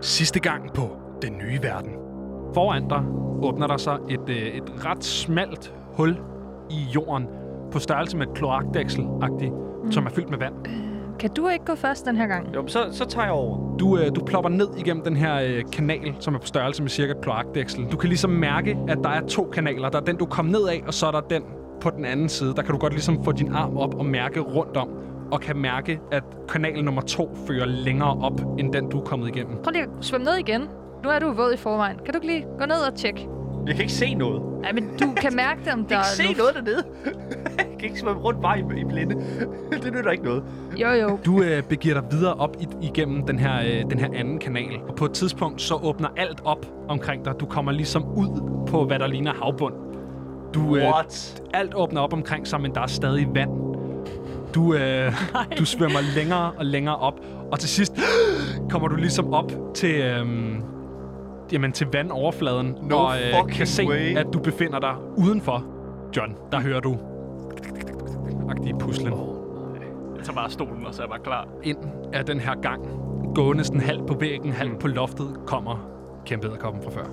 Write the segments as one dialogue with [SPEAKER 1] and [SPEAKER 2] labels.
[SPEAKER 1] Sidste gang på Den Nye Verden.
[SPEAKER 2] Foran dig åbner der sig et, øh, et ret smalt hul i jorden, på størrelse med et kloakdæksel mm. som er fyldt med vand.
[SPEAKER 3] Kan du ikke gå først den her gang?
[SPEAKER 4] Jo, men så, så tager jeg over.
[SPEAKER 2] Du, øh, du plopper ned igennem den her øh, kanal, som er på størrelse med cirka et kloakdæksel. Du kan ligesom mærke, at der er to kanaler. Der er den, du kom ned af, og så er der den på den anden side. Der kan du godt ligesom få din arm op og mærke rundt om, og kan mærke, at kanal nummer to fører længere op, end den, du er kommet igennem.
[SPEAKER 3] Prøv lige at svømme ned igen. Nu er du våd i forvejen. Kan du ikke lige gå ned og tjekke?
[SPEAKER 4] Jeg kan ikke se noget.
[SPEAKER 3] Nej, men du kan mærke det, om der
[SPEAKER 4] Jeg kan
[SPEAKER 3] er
[SPEAKER 4] ikke se noget
[SPEAKER 3] luft.
[SPEAKER 4] dernede. jeg kan ikke svømme rundt bare i, i blinde. det nytter ikke noget.
[SPEAKER 3] Jo, jo.
[SPEAKER 2] Du øh, begiver dig videre op i, igennem den her, øh, den her anden kanal, og på et tidspunkt så åbner alt op omkring dig. Du kommer ligesom ud på, hvad der ligner havbund. Du, øh,
[SPEAKER 4] What?
[SPEAKER 2] alt åbner op omkring sig, men der er stadig vand. Du, øh, du svømmer længere og længere op, og til sidst kommer du ligesom op til, øh, jamen, til vandoverfladen,
[SPEAKER 4] No
[SPEAKER 2] og øh,
[SPEAKER 4] fucking
[SPEAKER 2] kan se,
[SPEAKER 4] way.
[SPEAKER 2] at du befinder dig udenfor. John, der hører du agtige puslen
[SPEAKER 5] Jeg tager bare stolen, og så er jeg bare klar.
[SPEAKER 2] ind af den her gang, gående sådan halvt på væggen, halvt på loftet, kommer kæmpe æderkoppen fra før.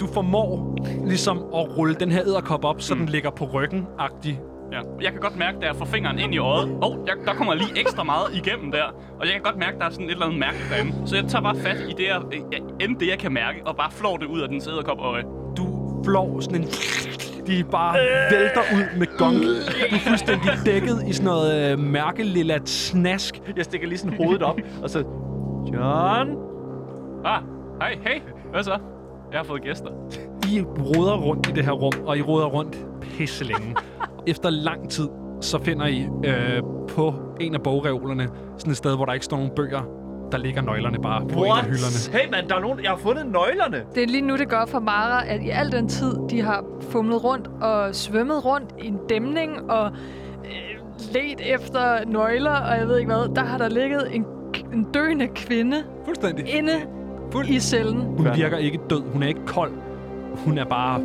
[SPEAKER 2] Du formår ligesom at rulle den her æderkop op, så mm. den ligger på ryggen-agtig,
[SPEAKER 5] Ja. Jeg kan godt mærke, da jeg får fingeren ind i øjet. Åh, oh, der kommer lige ekstra meget igennem der. Og jeg kan godt mærke, der er sådan et eller andet mærkeligt derinde. Så jeg tager bare fat i det, jeg, jeg, end det, jeg kan mærke, og bare flår det ud af den sæderkop øh, øje.
[SPEAKER 2] du flår sådan en... De bare vælter ud med gong. Du er fuldstændig dækket i sådan noget øh, mærkelilla snask.
[SPEAKER 4] Jeg stikker lige sådan hovedet op, og så... John?
[SPEAKER 5] Ah, hej, hey. Hvad så? Jeg har fået gæster.
[SPEAKER 2] I roder rundt i det her rum, og I roder rundt pisse længe. Efter lang tid, så finder I øh, på en af bogreolerne sådan et sted, hvor der ikke står nogen bøger. Der ligger nøglerne bare på en af
[SPEAKER 4] What?
[SPEAKER 2] hylderne.
[SPEAKER 4] Hey, mand, der er nogen... Jeg har fundet nøglerne.
[SPEAKER 3] Det er lige nu, det går op for Mara, at i al den tid, de har fumlet rundt og svømmet rundt i en dæmning og øh, let efter nøgler og jeg ved ikke hvad, der har der ligget en, k- en døende kvinde
[SPEAKER 2] Fuldstændig.
[SPEAKER 3] inde
[SPEAKER 2] Fuld-
[SPEAKER 3] i cellen.
[SPEAKER 2] Hun virker ikke død. Hun er ikke kold. Hun er bare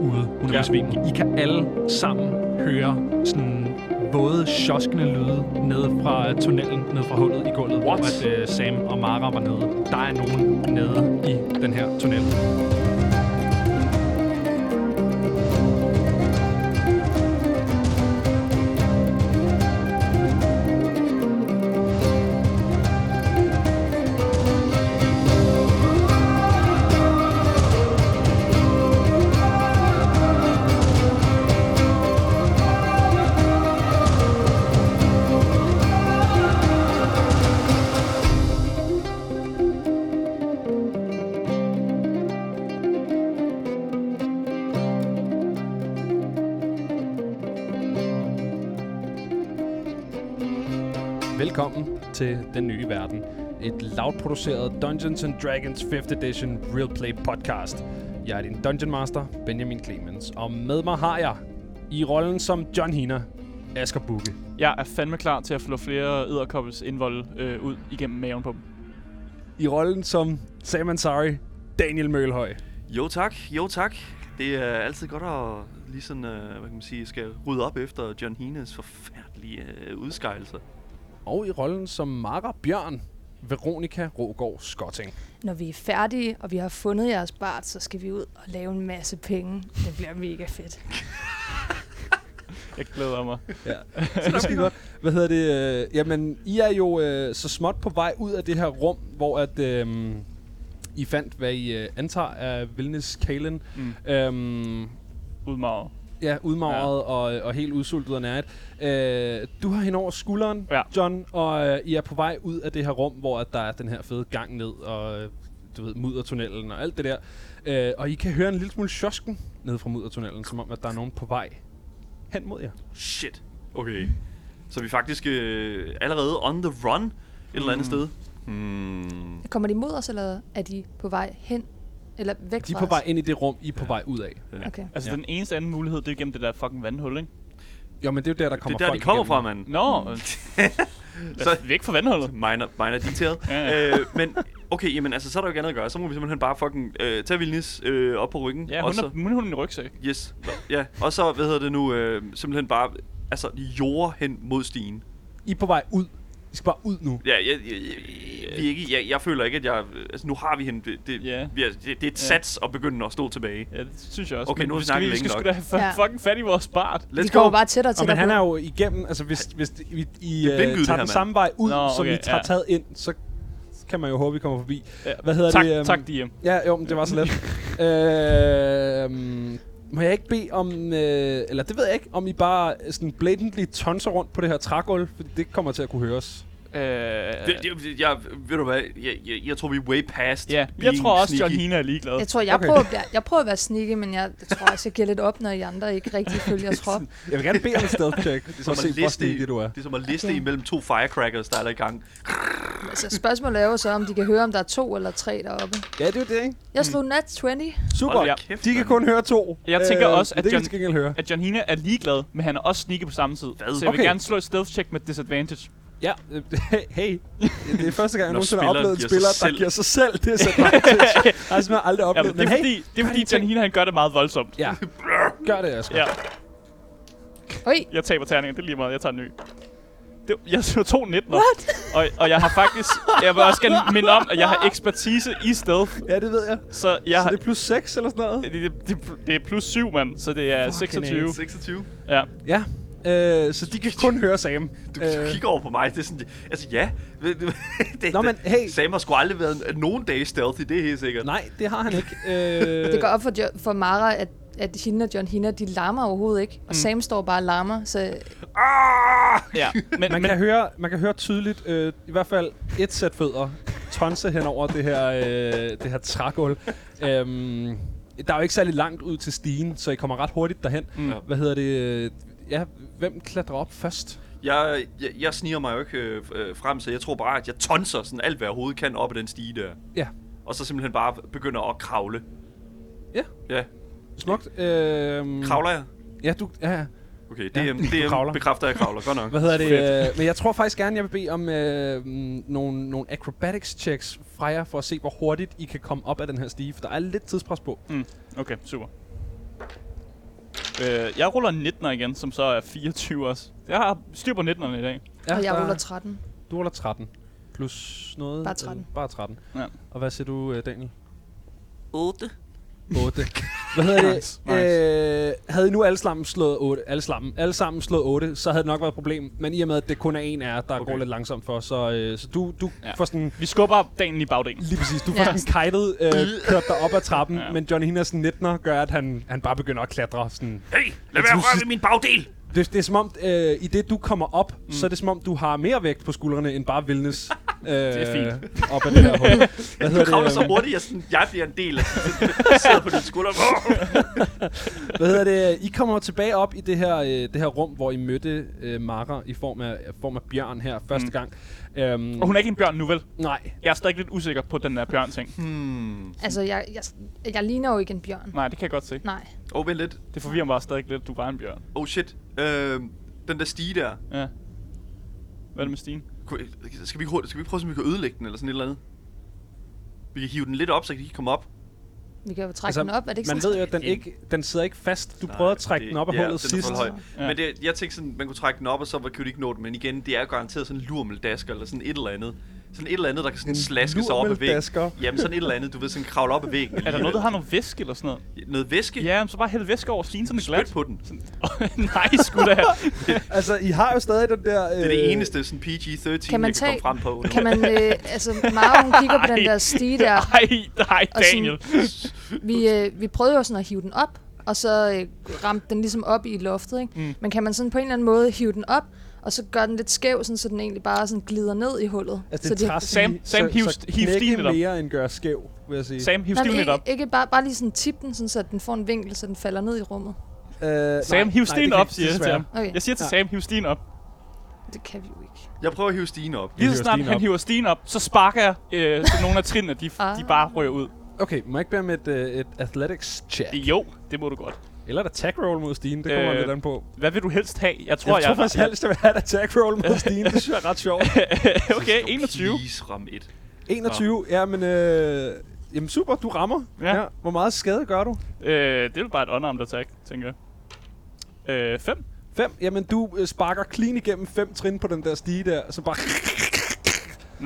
[SPEAKER 2] ude. Hun er ja. besvimet. I kan alle sammen høre sådan våde, sjoskende lyde ned fra tunnelen, ned fra hullet i gulvet, What? hvor at, uh, Sam og Mara var nede. Der er nogen nede i den her tunnel. Velkommen til Den Nye Verden. Et lavproduceret Dungeons and Dragons 5th Edition Real Play podcast. Jeg er din Dungeon Master, Benjamin Clemens, og med mig har jeg, i rollen som John Hina, Asger Bukke.
[SPEAKER 5] Jeg er fandme klar til at flå flere æderkoppels indvold øh, ud igennem maven på dem.
[SPEAKER 2] I rollen som Sam Ansari, Daniel Mølhøj.
[SPEAKER 6] Jo tak, jo tak. Det er altid godt at lige sådan, øh, hvad kan man sige, skal rydde op efter John Hines forfærdelige øh, udskejelser.
[SPEAKER 2] Og i rollen som Mara Bjørn, Veronica Rågaard Skotting.
[SPEAKER 7] Når vi er færdige, og vi har fundet jeres bart, så skal vi ud og lave en masse penge. Det bliver mega fedt.
[SPEAKER 5] Jeg glæder mig.
[SPEAKER 2] Det er skide godt. Hvad hedder det? øh, Jamen, I er jo øh, så småt på vej ud af det her rum, hvor at, øh, I fandt, hvad I øh, antager er Vilnes Kalen. Mm. Øhm,
[SPEAKER 5] Udmarret.
[SPEAKER 2] ja, udmagret ja. og, og helt udsultet og nært. Øh, du har hende over skulderen, ja.
[SPEAKER 5] Ja.
[SPEAKER 2] John, og øh, I er på vej ud af det her rum, hvor at der er den her fede gang ned, og øh, du ved, muddertunnelen og alt det der. Øh, og I kan høre en lille smule sjosken ned fra muddertunnelen, som om, at der er nogen på vej hen mod jer.
[SPEAKER 6] Shit. Okay. Så vi er faktisk øh, allerede on the run et eller
[SPEAKER 5] Mm.
[SPEAKER 6] andet sted. Hmm.
[SPEAKER 7] Kommer de mod os, eller er de på vej hen? Eller væk
[SPEAKER 2] De er
[SPEAKER 7] fra
[SPEAKER 2] på vej
[SPEAKER 7] os?
[SPEAKER 2] ind i det rum, I er på vej ud af.
[SPEAKER 7] Okay.
[SPEAKER 5] Altså, ja. den eneste anden mulighed, det er gennem det der fucking vandhul, ikke?
[SPEAKER 2] Jo, men det er jo der, der
[SPEAKER 6] Det
[SPEAKER 2] kommer
[SPEAKER 6] er der, de
[SPEAKER 2] folk
[SPEAKER 6] kommer
[SPEAKER 2] igennem.
[SPEAKER 6] fra, mand.
[SPEAKER 5] Nå, øh, lad os væk fra vandhullet.
[SPEAKER 6] Minor, minor detail.
[SPEAKER 5] Ja,
[SPEAKER 6] øh, men okay, jamen, altså, så er der jo ikke andet at gøre. Så må vi simpelthen bare fucking øh, tage Vilnis øh, op på ryggen.
[SPEAKER 5] Ja,
[SPEAKER 6] og
[SPEAKER 5] hun
[SPEAKER 6] så,
[SPEAKER 5] har hun har en rygsæk.
[SPEAKER 6] Yes. Ja, og så, hvad hedder det nu, øh, simpelthen bare altså, jorde hen mod stien.
[SPEAKER 2] I er på vej ud. I skal bare ud nu.
[SPEAKER 6] Ja, jeg, jeg, jeg, vi er ikke, jeg, jeg føler ikke, at jeg... Altså, nu har vi hende. Det, det,
[SPEAKER 5] Ja.
[SPEAKER 6] vi er, det, det er et sats at begynde at stå tilbage.
[SPEAKER 5] Ja, det synes jeg også.
[SPEAKER 6] Okay,
[SPEAKER 5] men
[SPEAKER 6] nu har vi
[SPEAKER 5] skal
[SPEAKER 6] snakket
[SPEAKER 5] vi skal
[SPEAKER 6] længe
[SPEAKER 5] sgu da have
[SPEAKER 8] Ja.
[SPEAKER 5] ja. fucking fat i vores bart.
[SPEAKER 8] Vi
[SPEAKER 6] Let's
[SPEAKER 8] går
[SPEAKER 6] go.
[SPEAKER 8] jo bare tættere og
[SPEAKER 2] Og men
[SPEAKER 8] tættere
[SPEAKER 2] han
[SPEAKER 8] på.
[SPEAKER 2] er jo igennem, altså hvis, hvis I, I
[SPEAKER 6] er vindgyde,
[SPEAKER 2] øh,
[SPEAKER 6] det
[SPEAKER 2] tager den
[SPEAKER 6] her, mand.
[SPEAKER 2] samme vej ud,
[SPEAKER 5] Nå,
[SPEAKER 2] Nå, som I
[SPEAKER 5] okay,
[SPEAKER 2] har
[SPEAKER 5] ja.
[SPEAKER 2] taget ind, så kan man jo håbe, I kommer forbi.
[SPEAKER 5] Ja.
[SPEAKER 2] Hvad hedder
[SPEAKER 5] tak,
[SPEAKER 2] det? øhm,
[SPEAKER 5] tak, DM.
[SPEAKER 2] Ja, jo, men det var så let. øh, må jeg ikke bede om, øh, eller det ved jeg ikke, om I bare øh, sådan blatantly tonser rundt på det her trægulv, for det kommer til at kunne høres.
[SPEAKER 5] Øh,
[SPEAKER 6] Det, det, jeg, ved du hvad, jeg, jeg, jeg tror, vi er way past
[SPEAKER 5] ja, jeg
[SPEAKER 6] being
[SPEAKER 5] tror også,
[SPEAKER 6] sneaky.
[SPEAKER 5] John Hina er ligeglad.
[SPEAKER 8] Jeg tror, jeg,
[SPEAKER 2] Okay.
[SPEAKER 8] prøver, at være- jeg prøver at være sneaky, men jeg, jeg tror også, jeg giver lidt op, når I andre ikke rigtig følger trop.
[SPEAKER 2] Jeg vil gerne bede om et stealth check, for at
[SPEAKER 6] som at
[SPEAKER 2] se, hvor
[SPEAKER 6] liste,
[SPEAKER 2] sneaky du er.
[SPEAKER 6] Det er som at liste
[SPEAKER 8] Okay.
[SPEAKER 6] imellem to firecrackers, der er der i gang.
[SPEAKER 8] Altså, spørgsmålet er jo så, om de kan høre, om der er to eller tre deroppe.
[SPEAKER 2] Ja, det er jo det, ikke?
[SPEAKER 8] Jeg
[SPEAKER 6] Mm.
[SPEAKER 8] slog nat 20.
[SPEAKER 2] Super.
[SPEAKER 5] Hold da
[SPEAKER 6] kæft,
[SPEAKER 2] De kan
[SPEAKER 6] mand.
[SPEAKER 2] kun høre to. Øh,
[SPEAKER 5] Jeg tænker også,
[SPEAKER 2] men
[SPEAKER 5] at
[SPEAKER 2] det kan
[SPEAKER 5] John-
[SPEAKER 2] de til gengæld høre.
[SPEAKER 5] At John Hina er ligeglad, men han er også sneaky på samme tid.
[SPEAKER 6] Hvad?
[SPEAKER 5] Så jeg vil
[SPEAKER 2] Okay.
[SPEAKER 5] gerne slå et stealth check med disadvantage.
[SPEAKER 2] Ja, øh, hey. Det er første gang, jeg
[SPEAKER 6] Når
[SPEAKER 2] nogensinde har
[SPEAKER 6] spilleren
[SPEAKER 2] oplevet en
[SPEAKER 6] giver sig
[SPEAKER 2] spiller, der
[SPEAKER 6] selv.
[SPEAKER 2] giver sig selv det er disadvantage. Jeg har simpelthen aldrig
[SPEAKER 5] Ja,
[SPEAKER 2] oplevet,
[SPEAKER 5] men det er
[SPEAKER 2] hey,
[SPEAKER 5] fordi, det er
[SPEAKER 2] gør
[SPEAKER 5] fordi
[SPEAKER 2] de
[SPEAKER 5] John
[SPEAKER 2] ting.
[SPEAKER 5] Hina, han gør det meget voldsomt.
[SPEAKER 2] Ja, gør det, Asger.
[SPEAKER 5] Ja,
[SPEAKER 8] Oj,
[SPEAKER 5] jeg taber terningen, det er lige meget, jeg tager en ny. Det, jeg slog to 19'er, og, og jeg har faktisk, jeg vil også gerne minde om, at jeg har ekspertise i stealth,
[SPEAKER 2] Ja, det ved jeg.
[SPEAKER 5] så
[SPEAKER 2] Ja.
[SPEAKER 5] jeg
[SPEAKER 2] Så
[SPEAKER 5] har,
[SPEAKER 2] det er plus 6 eller sådan noget?
[SPEAKER 5] det, det, det, det er plus 7, mand, så det er 26.
[SPEAKER 6] 26.
[SPEAKER 5] Ja.
[SPEAKER 2] Ja. Øh, så de kan kun høre Sam.
[SPEAKER 6] Du, du
[SPEAKER 2] Øh,
[SPEAKER 6] kigger over på mig, det er sådan, altså ja. det,
[SPEAKER 2] Nå, men hey.
[SPEAKER 6] Sam har sgu aldrig været en- nogen dag stealthy, det er helt sikkert.
[SPEAKER 2] nej, det har han ikke. Øh,
[SPEAKER 8] det går op for, jo- for Mara, at, at hende og John Hina, de larmer overhovedet ikke.
[SPEAKER 6] Mm.
[SPEAKER 8] Og Sam står bare og larmer, så
[SPEAKER 5] ja. Men,
[SPEAKER 2] Man,
[SPEAKER 5] men
[SPEAKER 2] kan høre, man kan høre tydeligt, øh, i hvert fald et sæt fødder, tonse hen over det her, øh, det her trægulv. øhm, der er jo ikke særlig langt ud til stigen, så I kommer ret hurtigt derhen. Mm. Hvad hedder det? øh, Ja, hvem klatrer op først?
[SPEAKER 6] Jeg, jeg, jeg sniger mig jo ikke øh, øh, frem, så jeg tror bare, at jeg tonser sådan alt, hvad jeg overhovedet kan op ad den stige der.
[SPEAKER 2] Ja,
[SPEAKER 6] Og så simpelthen bare begynder at kravle.
[SPEAKER 2] Ja.
[SPEAKER 6] Ja,
[SPEAKER 2] smukt. Øhm,
[SPEAKER 6] kravler jeg?
[SPEAKER 2] Ja, du, ja, ja.
[SPEAKER 6] Okay, DM,
[SPEAKER 2] Ja, du
[SPEAKER 6] DM
[SPEAKER 2] kravler.
[SPEAKER 6] bekræfter, at jeg kravler, godt nok.
[SPEAKER 2] Hvad hedder det? Øh, men jeg tror faktisk gerne, jeg vil bede om øh, mm, nogle, nogle acrobatics checks fra jer, for at se, hvor hurtigt I kan komme op af den her stige, for der er lidt tidspres på.
[SPEAKER 5] Okay, super. Øh, jeg ruller 19'er igen, som så er 24 også. Jeg har styr på 19'erne i dag.
[SPEAKER 8] og jeg
[SPEAKER 2] der-
[SPEAKER 8] ruller 13.
[SPEAKER 2] Du ruller 13. Plus noget?
[SPEAKER 8] Bare 13.
[SPEAKER 2] øh, Bare 13.
[SPEAKER 5] Ja.
[SPEAKER 2] Og hvad siger du, øh, Daniel?
[SPEAKER 6] 8.
[SPEAKER 2] 8. Hvad hedder det?
[SPEAKER 5] Nice,
[SPEAKER 2] Øh, havde I nu alle sammen slået 8, alle sammen, alle sammen slået 8, så havde det nok været et problem. Men i og med, at det kun er en af jer, der okay. går lidt langsomt for, så, øh, så du, du ja.
[SPEAKER 5] Ja.
[SPEAKER 2] får sådan...
[SPEAKER 5] Vi skubber dagen i bagdelen.
[SPEAKER 2] Lige præcis, du får
[SPEAKER 8] Ja.
[SPEAKER 2] ja. sådan kitet, øh, kørt dig op ad trappen, ja.
[SPEAKER 5] Ja.
[SPEAKER 2] men Johnny Hinas 19'er gør, at han, han bare begynder at klatre. Sådan.
[SPEAKER 6] Hey, lad være at røre ved min bagdel!
[SPEAKER 2] Det, det er som om, øh, i det du kommer op, mm. så er det som om, du har mere vægt på skuldrene, end bare Vilnes. Øh, det
[SPEAKER 5] er fint.
[SPEAKER 2] Op ad det her hul. Hvad
[SPEAKER 6] Du kravler
[SPEAKER 2] øhm?
[SPEAKER 6] så hurtigt, jeg, sådan, jeg bliver en del af det. sidder på din skulder.
[SPEAKER 2] Hvad hedder det? øh, I kommer jo tilbage op i det her, øh, det her rum, hvor I mødte øh, Mara i form af, i form af Bjørn her første mm. gang. Øhm,
[SPEAKER 5] Og hun er ikke en bjørn nu, vel?
[SPEAKER 2] Nej,
[SPEAKER 5] Jeg er stadig lidt usikker på den der bjørn-ting.
[SPEAKER 8] Altså, jeg, jeg, jeg ligner jo ikke en bjørn.
[SPEAKER 5] Nej, det kan jeg godt se.
[SPEAKER 8] Nej.
[SPEAKER 6] Åh, oh, vent lidt.
[SPEAKER 5] Det forvirrer mig stadig lidt, at du var en bjørn.
[SPEAKER 6] Oh shit. Øh, den der stige der.
[SPEAKER 5] Ja. Hvad er det med Stine?
[SPEAKER 6] Kunne- Skal vi, ikke hurtigt- skal vi ikke prøve, at vi kan ødelægge den eller sådan et eller andet? Vi kan hive den lidt op, så kan de ikke komme op.
[SPEAKER 8] Vi kan jo trække altså, den op, er det ikke
[SPEAKER 2] man
[SPEAKER 8] sådan?
[SPEAKER 2] ved jo, at den, ikke, den sidder ikke fast. Du Nej, prøvede at trække
[SPEAKER 6] det-
[SPEAKER 2] den op af
[SPEAKER 6] ja,
[SPEAKER 2] hullet
[SPEAKER 6] den er
[SPEAKER 2] sidst.
[SPEAKER 6] for høj.
[SPEAKER 5] Ja.
[SPEAKER 6] Men det, jeg tænkte sådan, man kunne trække den op, og så var- kunne de ikke nå den. Men igen, det er garanteret sådan en lurmeldasker eller sådan et eller andet. Sådan et eller andet, der kan sådan slaske sig op ad
[SPEAKER 2] lurmeldasker?
[SPEAKER 6] væggen. Jamen sådan et eller andet, du ved, sådan kravle op ad væggen.
[SPEAKER 5] Er der noget, der har noget væske eller sådan noget?
[SPEAKER 6] Noget væske?
[SPEAKER 5] Ja, Øh, men så bare hæld væske over Stine, så den er
[SPEAKER 6] Spyt
[SPEAKER 5] glat.
[SPEAKER 6] på den. Det
[SPEAKER 5] Nej, sgu da.
[SPEAKER 2] Altså, I har jo stadig den der... Øh,
[SPEAKER 6] er det eneste sådan PG-13,
[SPEAKER 8] Kan man
[SPEAKER 6] jeg kan komme
[SPEAKER 8] tage-
[SPEAKER 6] frem på.
[SPEAKER 8] Kan man, øh, altså, Mara, hun kigger på den
[SPEAKER 5] Ej.
[SPEAKER 8] der stige der.
[SPEAKER 5] Nej, nej,
[SPEAKER 8] Og sådan-
[SPEAKER 5] Daniel.
[SPEAKER 8] Vi, øh, vi prøvede jo sådan at hive den op, og så øh, ramte den ligesom op i loftet, ikke? Mm. Men kan man sådan på en eller anden måde hive den op, og så gør den lidt skæv, sådan, så den egentlig bare sådan glider ned i hullet?
[SPEAKER 2] Altså,
[SPEAKER 8] så
[SPEAKER 2] det er træs,
[SPEAKER 5] Sam-
[SPEAKER 2] i,
[SPEAKER 5] Sam hiv-
[SPEAKER 2] så,
[SPEAKER 5] hiv
[SPEAKER 2] så knække
[SPEAKER 5] stilen lidt op.
[SPEAKER 2] mere end gør skæv, vil jeg sige.
[SPEAKER 5] Sam, hiv
[SPEAKER 8] Nej, men
[SPEAKER 5] stilen lidt op.
[SPEAKER 8] ikke, ikke bare, bare lige sådan tip den, sådan, så den får en vinkel, så den falder ned i rummet.
[SPEAKER 2] øh,
[SPEAKER 5] Sam, hiv stilen op, siger jeg til ham.
[SPEAKER 8] Okay.
[SPEAKER 5] Jeg siger til Sam, hiv stilen op.
[SPEAKER 8] Det kan vi jo ikke.
[SPEAKER 6] Jeg prøver at hive stigen op.
[SPEAKER 5] Lige så
[SPEAKER 2] hiver
[SPEAKER 5] snart
[SPEAKER 2] Stine
[SPEAKER 5] han
[SPEAKER 2] op.
[SPEAKER 5] hiver stigen op, så sparker jeg øh, så nogle af trinene, de, de
[SPEAKER 8] Ah.
[SPEAKER 5] bare rører ud.
[SPEAKER 2] Okay, må jeg ikke bede om et, øh, et athletics check?
[SPEAKER 5] Jo, det må du godt.
[SPEAKER 2] Eller et attack roll mod Stine, det kommer øh,
[SPEAKER 5] Øh,
[SPEAKER 2] lidt an på.
[SPEAKER 5] Hvad vil du helst have? Jeg tror,
[SPEAKER 2] Jeg,
[SPEAKER 5] jeg...
[SPEAKER 2] tror faktisk helst, jeg vil have et attack roll mod Stine. Det synes jeg er ret sjovt.
[SPEAKER 5] okay, 21.
[SPEAKER 6] Please ram et.
[SPEAKER 2] 21, ja, men øh, jamen super, du rammer.
[SPEAKER 5] Ja.
[SPEAKER 2] Hvor meget skade gør du?
[SPEAKER 5] Øh, det er jo bare et unarmed attack, tænker jeg. Øh, 5.
[SPEAKER 2] 5. Jamen, du øh, sparker clean igennem fem trin på den der stige der, så bare...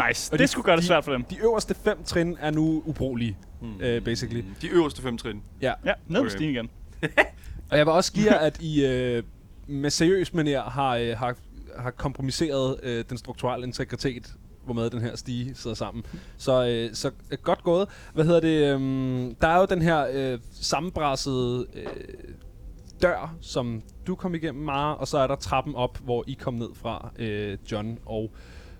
[SPEAKER 5] Nice. det skulle gøre det svært for dem. Hmm.
[SPEAKER 2] De øverste fem trin er nu ubrugelige, mm. øh, basically.
[SPEAKER 6] De øverste fem trin.
[SPEAKER 2] Ja.
[SPEAKER 5] Ja, ned på
[SPEAKER 6] Okay.
[SPEAKER 5] stigen igen.
[SPEAKER 2] Og jeg vil også give jer, at I øh, med seriøs manier har, øh, har, har kompromiseret øh, den strukturelle integritet, hvormed den her stige sidder sammen. Så, øh, så øh, godt gået. Hvad hedder det? Øh, der er jo den her øh, sammenbrassede øh, dør, som du kom igennem, Mara, og så er der trappen op, hvor I kom ned fra, øh, John og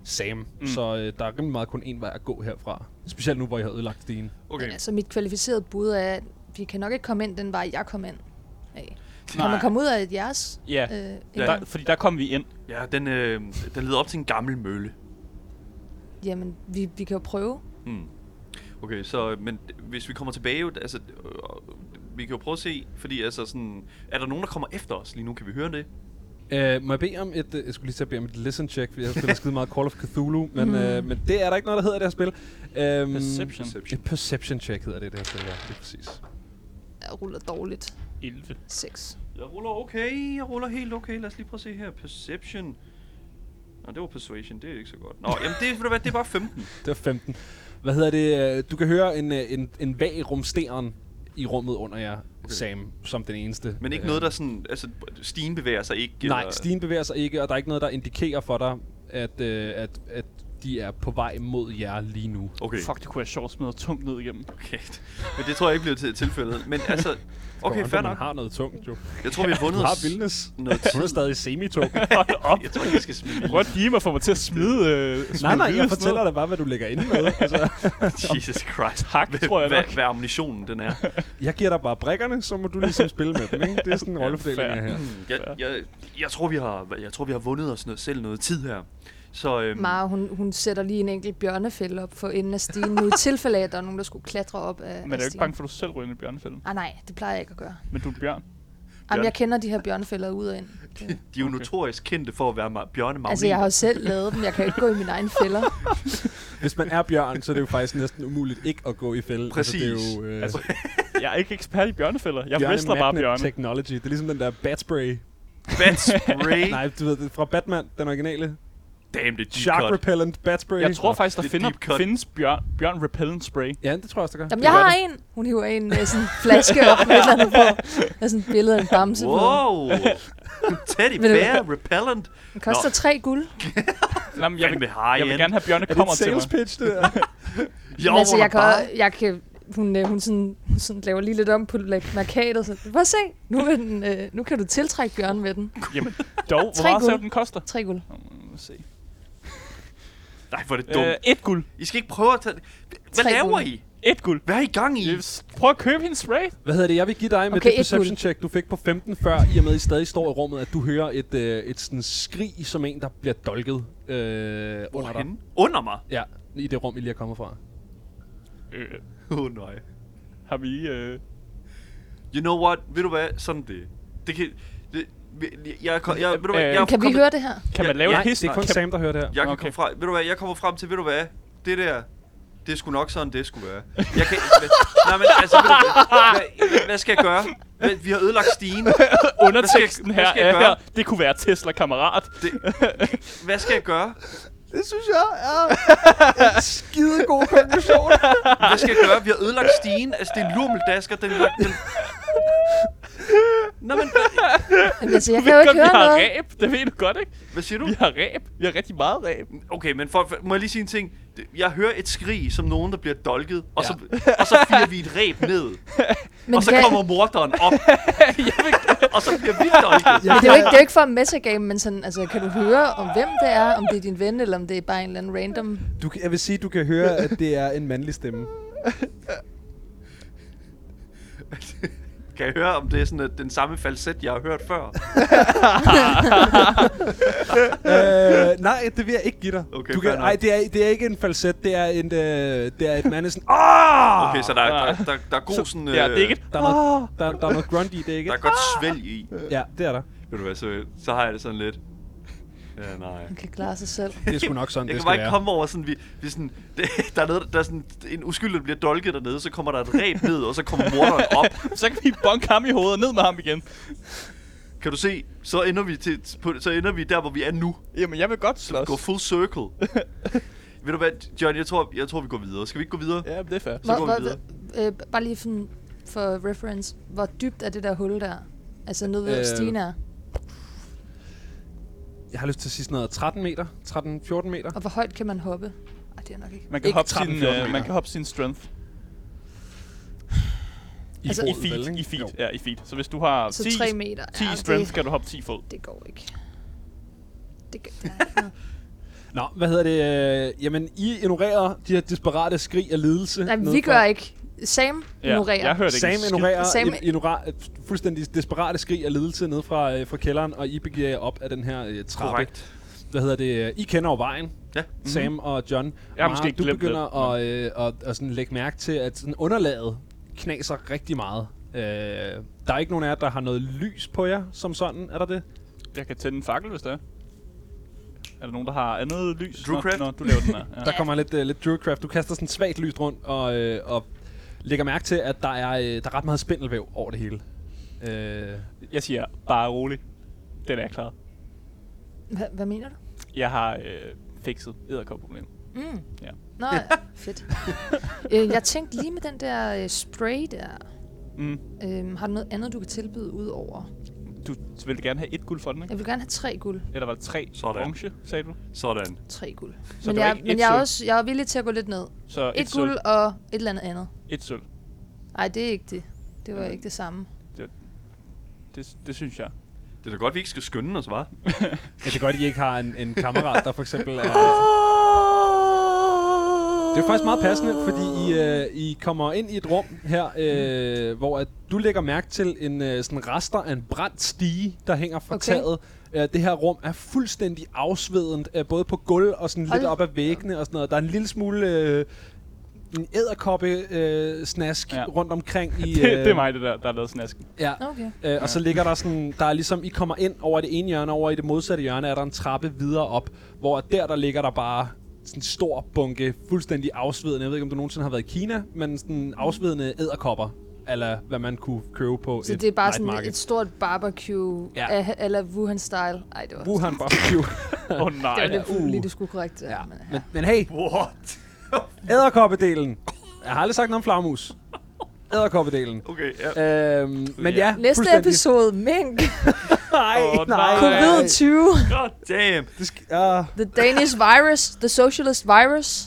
[SPEAKER 2] Sam. Mm. Så øh, der er rimelig meget kun en vej at gå herfra. Specielt nu, hvor I har ødelagt stigen.
[SPEAKER 8] Men altså, mit kvalificerede bud er, at vi kan nok ikke komme ind den vej, jeg kom ind. Af. Kan
[SPEAKER 5] Nej.
[SPEAKER 8] man komme ud af et jeres?
[SPEAKER 5] Ja,
[SPEAKER 8] Øh,
[SPEAKER 5] der,
[SPEAKER 8] indgang?
[SPEAKER 5] fordi der kom vi ind.
[SPEAKER 6] Ja, den, øh, den leder op til en gammel mølle.
[SPEAKER 8] Jamen, vi, vi kan jo prøve.
[SPEAKER 6] Okay, så, men hvis vi kommer tilbage, altså, øh, vi kan jo prøve at se, fordi altså sådan, er der nogen, der kommer efter os? Lige nu kan vi høre det.
[SPEAKER 2] Øh, må jeg bede om et, øh, jeg skulle lige til at bede om et listen check, fordi jeg har spillet skide meget Call of Cthulhu, men, mm. øh, men det er der ikke noget, der hedder i det her spil. Øhm,
[SPEAKER 5] Perception.
[SPEAKER 2] Et perception check hedder det i det her spil, ja, det er præcis.
[SPEAKER 8] Jeg ruller dårligt.
[SPEAKER 5] 11.
[SPEAKER 8] 6.
[SPEAKER 6] Jeg ruller okay, jeg ruller helt okay. Lad os lige prøve at se her. Perception. Nå, det var persuasion, det er ikke så godt. Nå, jamen det, ved du hvad, det er bare 15.
[SPEAKER 2] Det var 15. Hvad hedder det? øh, Du kan høre en, øh, en, en vag rumsteren i rummet under jer, okay. Sam, som den eneste. Øh,
[SPEAKER 6] Men ikke noget, der sådan, altså stigen bevæger sig ikke.
[SPEAKER 2] Nej,
[SPEAKER 6] eller-
[SPEAKER 2] stien bevæger sig ikke, og der er ikke noget, der indikerer for dig, at, øh, at, at de er på vej mod jer lige nu.
[SPEAKER 6] Okay.
[SPEAKER 5] Fuck, det kunne jeg sjovt smide tungt ned igennem.
[SPEAKER 6] Kæft. Men det tror jeg ikke bliver til tilfældet. Men altså, okay, fair
[SPEAKER 2] Kommer an
[SPEAKER 6] nok.
[SPEAKER 2] på, man har noget tungt, jo.
[SPEAKER 6] Jeg tror, vi har vundet
[SPEAKER 2] Du har
[SPEAKER 6] os
[SPEAKER 2] vildness.
[SPEAKER 6] noget tid.
[SPEAKER 2] Hun er stadig semi-tung.
[SPEAKER 5] Hold op.
[SPEAKER 6] Jeg tror ikke, jeg skal smide
[SPEAKER 5] Prøv at give mig for mig til at smide... Øh, smide
[SPEAKER 2] nej, nej,
[SPEAKER 5] viden
[SPEAKER 2] jeg
[SPEAKER 5] og sådan
[SPEAKER 2] fortæller
[SPEAKER 5] noget.
[SPEAKER 2] dig bare, hvad du lægger inde med. Altså.
[SPEAKER 6] Jesus Christ.
[SPEAKER 5] Tak, tror jeg
[SPEAKER 6] Hvad,
[SPEAKER 5] nok.
[SPEAKER 6] hvad ammunitionen den er.
[SPEAKER 2] Jeg giver dig bare brækkerne, så må du ligesom spille med dem, ikke? Det er sådan en rollefordeling
[SPEAKER 5] fair.
[SPEAKER 2] her.
[SPEAKER 6] Mm, Jeg, jeg, jeg, tror, vi har, jeg tror, vi har vundet os noget, selv noget tid her. Så øhm,
[SPEAKER 8] Mara, hun, hun sætter lige en enkelt bjørnefælde op for enden af stigen, nu i tilfælde af, at der er nogen, der skulle klatre op af
[SPEAKER 5] Men er
[SPEAKER 8] af
[SPEAKER 5] du ikke
[SPEAKER 8] stigen.
[SPEAKER 5] bange for, at du selv ryger ind i bjørnefælden?
[SPEAKER 8] Ah, nej, det plejer jeg ikke at gøre.
[SPEAKER 5] Men du er en bjørn.
[SPEAKER 8] Jamen, jeg kender de her bjørnefælder ud og ind. Det.
[SPEAKER 6] de er jo notorisk kendte for at være ma- bjørnemagneter.
[SPEAKER 8] Altså, jeg har jo selv lavet dem. Jeg kan jo ikke gå i mine egne fælder.
[SPEAKER 2] Hvis man er bjørn, så er det jo faktisk næsten umuligt ikke at gå i fælde.
[SPEAKER 6] Præcis.
[SPEAKER 2] Altså, det er jo, øh,
[SPEAKER 5] Altså, jeg er ikke ekspert i bjørnefælder. Jeg
[SPEAKER 2] bjørne
[SPEAKER 5] wrestler bare
[SPEAKER 2] magnet
[SPEAKER 5] bjørne.
[SPEAKER 2] Technology. Det er ligesom den der Batspray.
[SPEAKER 6] Bat spray.
[SPEAKER 2] Nej, du ved, det er fra Batman, den originale.
[SPEAKER 6] Damn, det er deep
[SPEAKER 2] Shark
[SPEAKER 6] cut.
[SPEAKER 2] Repellent Batspray.
[SPEAKER 5] Jeg tror faktisk, der
[SPEAKER 6] Det er deep
[SPEAKER 5] finder,
[SPEAKER 6] cut.
[SPEAKER 5] findes bjørn, bjørn repellent spray.
[SPEAKER 2] Ja, det tror jeg også, der gør.
[SPEAKER 8] Jamen, jeg har en. Hun hiver en øh, sådan flaske op med et eller andet på. Der er sådan et billede af en bamse på.
[SPEAKER 6] Wow. Teddy
[SPEAKER 8] Ved du
[SPEAKER 6] bear repellent.
[SPEAKER 8] Den koster
[SPEAKER 6] Nå.
[SPEAKER 8] tre guld.
[SPEAKER 5] Nå, men jeg, vil,
[SPEAKER 6] Fandme high
[SPEAKER 5] jeg vil
[SPEAKER 6] end.
[SPEAKER 5] gerne have, at bjørne
[SPEAKER 2] Er det
[SPEAKER 5] kommer
[SPEAKER 2] et
[SPEAKER 5] til mig.
[SPEAKER 2] sales pitch, det der?
[SPEAKER 8] Men altså,
[SPEAKER 6] overrunder
[SPEAKER 8] jeg kan,
[SPEAKER 6] bare.
[SPEAKER 8] jeg kan, hun, øh, hun sådan, hun sådan laver lige lidt om på la- markadet. Så, prøv at se, nu, vil den, øh, nu kan du tiltrække bjørnen med den.
[SPEAKER 5] Jamen, dog. Hvor
[SPEAKER 8] Tre
[SPEAKER 5] meget ser
[SPEAKER 8] guld.
[SPEAKER 5] du, den koster?
[SPEAKER 8] Tre guld.
[SPEAKER 5] Lad os se.
[SPEAKER 6] Nej, hvor er det dumt.
[SPEAKER 5] Øh, et guld.
[SPEAKER 6] I skal ikke prøve at tage... Hvad
[SPEAKER 8] Tre
[SPEAKER 6] laver
[SPEAKER 8] guld.
[SPEAKER 6] I?
[SPEAKER 5] Et guld.
[SPEAKER 6] Hvad er I gang i?
[SPEAKER 5] Jeg vil s- Prøv at købe hendes spray.
[SPEAKER 2] Hvad hedder det? Jeg vil give dig med
[SPEAKER 8] Okay,
[SPEAKER 2] okay, det
[SPEAKER 8] et
[SPEAKER 2] perception
[SPEAKER 8] guld.
[SPEAKER 2] check, du fik på 15 før, i og med, at I stadig står i rummet, at du hører et, øh, et sådan skrig som en, der bliver dolket øh, under dig.
[SPEAKER 6] Hvorhenne? Under mig?
[SPEAKER 2] Ja, i det rum, I lige er kommet fra.
[SPEAKER 5] Øh,
[SPEAKER 6] Åh, oh, nej.
[SPEAKER 5] har vi... Øh,
[SPEAKER 6] You know what? Ved du hvad? Sådan er det. Det kan... Det, jeg, jeg, jeg, ved du hvad?
[SPEAKER 5] Øh,
[SPEAKER 6] Jeg,
[SPEAKER 8] Kan vi
[SPEAKER 6] kom-
[SPEAKER 8] høre det her?
[SPEAKER 5] kan man
[SPEAKER 6] Ja,
[SPEAKER 5] lave
[SPEAKER 6] ja,
[SPEAKER 5] et hist?
[SPEAKER 2] Det er kun
[SPEAKER 5] kan,
[SPEAKER 2] Sam, der hører det her.
[SPEAKER 6] Jeg kan
[SPEAKER 5] Okay.
[SPEAKER 6] okay. komme frem, ved du hvad, jeg kommer frem til, ved du hvad, det der, det skulle nok sådan, det skulle være. Jeg kan, men, nej, men altså, ved du, hvad, hvad, hvad skal jeg gøre? Hvad, vi har ødelagt stigen.
[SPEAKER 5] underteksten
[SPEAKER 6] hvad skal
[SPEAKER 5] her,
[SPEAKER 6] jeg
[SPEAKER 5] er,
[SPEAKER 6] gøre?
[SPEAKER 5] her, det kunne være Tesla-kammerat.
[SPEAKER 6] Det, hvad skal jeg gøre?
[SPEAKER 2] Det synes jeg er en skide god konklusion.
[SPEAKER 6] Hvad skal jeg gøre? Vi har ødelagt stigen. Altså, det er en lurmeldasker, den... den Nå, men, hvad,
[SPEAKER 8] Jamen, altså, jeg kan jo
[SPEAKER 5] Godt,
[SPEAKER 8] ikke
[SPEAKER 5] vi
[SPEAKER 8] høre
[SPEAKER 5] har
[SPEAKER 8] noget.
[SPEAKER 5] ræb. Det ved du godt, ikke?
[SPEAKER 6] hvad siger du?
[SPEAKER 5] Vi har ræb. Vi har rigtig meget ræb.
[SPEAKER 6] Okay, men for, for, må jeg lige sige en ting? Det- Jeg hører et skrig, som nogen, der bliver dolket, og, så, og så firer vi et ræb ned.
[SPEAKER 8] Men,
[SPEAKER 6] og så
[SPEAKER 8] kan,
[SPEAKER 6] kommer morderen op, og så bliver vi dolket.
[SPEAKER 8] men det, er jo ikke, det er jo ikke for at metagame, men sådan, altså, kan du høre, om hvem det er, om det er din ven, eller om det er bare en eller anden random...
[SPEAKER 2] Du, kan- jeg vil sige, du kan høre, at det er en mandlig stemme.
[SPEAKER 6] Kan jeg høre, om det er sådan at den samme falset, jeg har hørt før?
[SPEAKER 2] øh, nej, det vil jeg ikke give dig.
[SPEAKER 6] Okay,
[SPEAKER 2] du
[SPEAKER 6] fair
[SPEAKER 2] kan,
[SPEAKER 6] nok.
[SPEAKER 2] nej, det er, det er ikke en falset, det er, en, øh, det er et mand er sådan... Ah!
[SPEAKER 6] Okay, så der, er- der, der, der er god sådan...
[SPEAKER 5] Ja, det er
[SPEAKER 6] øh,
[SPEAKER 5] ikke et...
[SPEAKER 2] Der er, noget, der, der er noget grunt i det, ikke?
[SPEAKER 6] Der er godt svælg i.
[SPEAKER 2] Ja, det er der.
[SPEAKER 6] Ved du hvad, så, så har jeg det sådan lidt. Ja, nej.
[SPEAKER 8] Man kan klare sig selv.
[SPEAKER 2] Det er sgu nok sådan,
[SPEAKER 6] Jeg
[SPEAKER 2] det
[SPEAKER 6] kan
[SPEAKER 2] skal
[SPEAKER 6] bare ikke
[SPEAKER 2] være.
[SPEAKER 6] komme over sådan, vi, vi sådan det, der er, noget, der er sådan en uskyldig, der bliver dolket dernede, så kommer der et ræb ned, og så kommer morderen op.
[SPEAKER 5] Så kan vi bonke ham i hovedet og ned med ham igen.
[SPEAKER 6] Kan du se, så ender vi, til, på, så ender vi der, hvor vi er nu.
[SPEAKER 5] Jamen, jeg vil godt slås.
[SPEAKER 6] Gå full circle. Ved du hvad, John, jeg tror, jeg tror, vi går videre. Skal vi ikke gå videre?
[SPEAKER 5] Ja, det er fair.
[SPEAKER 6] Så går vi
[SPEAKER 8] hvor, øh, bare lige for, for reference. Hvor dybt er det der hul der? Altså nede ved
[SPEAKER 2] Øh,
[SPEAKER 8] øh, stigen er.
[SPEAKER 2] Jeg har lyst til at sige sådan noget 13 meter, 13-14 meter.
[SPEAKER 8] Og hvor højt kan man hoppe? Ej, det er nok ikke.
[SPEAKER 5] Man kan,
[SPEAKER 8] ikke
[SPEAKER 5] hoppe sin,
[SPEAKER 2] 13-14
[SPEAKER 5] øh, man
[SPEAKER 2] meter.
[SPEAKER 5] kan hoppe sin strength.
[SPEAKER 2] I,
[SPEAKER 8] Altså-
[SPEAKER 5] I
[SPEAKER 2] fod,
[SPEAKER 5] feet,
[SPEAKER 2] vel, ikke?
[SPEAKER 5] i feet.
[SPEAKER 2] Jo.
[SPEAKER 5] Ja, i feet. Så hvis du har
[SPEAKER 8] Så
[SPEAKER 5] 10,
[SPEAKER 8] tre meter.
[SPEAKER 5] 10
[SPEAKER 8] Ja,
[SPEAKER 5] i strength,
[SPEAKER 8] det-
[SPEAKER 5] kan du hoppe 10 fod.
[SPEAKER 8] Det går ikke. Det gør der er ikke noget.
[SPEAKER 2] Nå, hvad hedder det? øh, Jamen, I ignorerer de her desperate skrig af lidelse.
[SPEAKER 8] Nej,
[SPEAKER 2] nede
[SPEAKER 8] vi
[SPEAKER 2] fra-
[SPEAKER 8] gør ikke. Sam ignorerer.
[SPEAKER 5] jeg hørte ikke
[SPEAKER 2] Sam
[SPEAKER 5] en skid.
[SPEAKER 2] ignorerer
[SPEAKER 8] Sam-
[SPEAKER 2] Sam... ignorer, øh, fuldstændig desperate skrig af ledelse ned fra, øh, fra kælderen, og I begiver jer op af den her øh, trappe.
[SPEAKER 6] Korrekt.
[SPEAKER 2] Hvad hedder det? I kender jo vejen. Mm-hmm.
[SPEAKER 6] Ja.
[SPEAKER 2] Sam og John.
[SPEAKER 5] Jeg
[SPEAKER 2] Mara,
[SPEAKER 5] har måske ikke
[SPEAKER 2] du
[SPEAKER 5] glemt
[SPEAKER 2] begynder
[SPEAKER 5] det,
[SPEAKER 2] at, øh, at, at sådan lægge mærke til, at sådan underlaget knaser rigtig meget. Øh, der er ikke nogen af jer, der har noget lys på jer, som sådan. Er der det?
[SPEAKER 5] Jeg kan tænde en fakkel, hvis det er. Er der nogen, der har andet lys? Nå,
[SPEAKER 6] Drucraft?
[SPEAKER 5] Nå, du laver den her. Ja.
[SPEAKER 2] Der kommer lidt, øh, lidt druidcraft. Du kaster sådan svagt lyst rundt og, øh, og lægger mærke til, at der er, øh, der er ret meget spindelvæv over det hele. Øh,
[SPEAKER 5] Jeg siger, bare rolig. Den er klar.
[SPEAKER 8] Hva, hvad mener du?
[SPEAKER 5] Jeg har øh, fikset æderkopproblemet.
[SPEAKER 8] Mm.
[SPEAKER 5] Ja.
[SPEAKER 8] Nå, ja. fedt. øh, jeg tænkte lige med den der øh, spray der.
[SPEAKER 5] Mm.
[SPEAKER 8] Øh, har du noget andet, du kan tilbyde udover?
[SPEAKER 5] Du ville gerne have et guld for den, ikke?
[SPEAKER 8] Jeg vil gerne have tre guld.
[SPEAKER 5] Eller var det tre
[SPEAKER 6] Sådan.
[SPEAKER 5] orange, sagde du?
[SPEAKER 6] Sådan.
[SPEAKER 8] Tre guld.
[SPEAKER 5] Så det
[SPEAKER 8] men
[SPEAKER 5] var
[SPEAKER 8] jeg,
[SPEAKER 5] ikke
[SPEAKER 8] men
[SPEAKER 5] et
[SPEAKER 8] jeg, er
[SPEAKER 5] sølv.
[SPEAKER 8] også, jeg er villig til at gå lidt ned.
[SPEAKER 5] Så et,
[SPEAKER 8] Et, et
[SPEAKER 5] sølv,
[SPEAKER 8] guld og et eller andet andet.
[SPEAKER 5] et sølv.
[SPEAKER 8] Nej, det er ikke det. Det var ikke det samme.
[SPEAKER 5] Det, det synes jeg.
[SPEAKER 6] Det er da godt, vi ikke skal skynde os, hva'?
[SPEAKER 2] Ja, det er godt, at I ikke har en, en kammerat, der for eksempel er... Det er faktisk meget passende, fordi I, øh, I kommer ind i et rum her, øh, hvor at du lægger mærke til en øh, sådan rester af en brændt stige, der hænger fra
[SPEAKER 8] Okay.
[SPEAKER 2] okay. taget. Øh, det her rum er fuldstændig afsvedent, øh, både på gulv og sådan lidt
[SPEAKER 8] Hold-
[SPEAKER 2] op ad væggene og sådan noget. Der er en lille smule... Øh, en æderkoppe-snask
[SPEAKER 5] Ja.
[SPEAKER 2] ja. rundt omkring i... øh,
[SPEAKER 5] Det, det er mig, det der, der har lavet snasken.
[SPEAKER 2] Ja.
[SPEAKER 8] Okay.
[SPEAKER 2] Øh, og så ligger der sådan, der er ligesom, I kommer ind over det ene hjørne, over i det modsatte hjørne er der en trappe videre op, hvor der, der ligger der bare sådan en stor bunke, fuldstændig afsvedende. Jeg ved ikke, om du nogensinde har været i Kina, men sådan afsvedende æderkopper, eller hvad man kunne købe på
[SPEAKER 8] Så
[SPEAKER 2] et
[SPEAKER 8] det er bare
[SPEAKER 2] night
[SPEAKER 8] sådan
[SPEAKER 2] market.
[SPEAKER 8] et stort barbecue
[SPEAKER 2] Ja.
[SPEAKER 8] ja. eller Wuhan-style. Ej, det var, det
[SPEAKER 2] Wuhan barbecue.
[SPEAKER 5] Åh oh, nej.
[SPEAKER 8] var lidt
[SPEAKER 2] ja,
[SPEAKER 8] uh.
[SPEAKER 2] uh.
[SPEAKER 8] lige, du skulle korrekt. Ja. Men, ja.
[SPEAKER 2] men, men hey,
[SPEAKER 6] What?
[SPEAKER 2] æderkoppedelen. Jeg har aldrig sagt noget om flagmus. Æderkoppedelen.
[SPEAKER 6] Okay, ja.
[SPEAKER 2] Øhm, men ja,
[SPEAKER 8] Næste
[SPEAKER 2] fuldstændig.
[SPEAKER 8] episode, mink.
[SPEAKER 2] Nej,
[SPEAKER 6] Åh,
[SPEAKER 2] nej.
[SPEAKER 8] Covid-20.
[SPEAKER 6] God damn.
[SPEAKER 2] Det skal, ah.
[SPEAKER 8] The Danish virus. The socialist virus.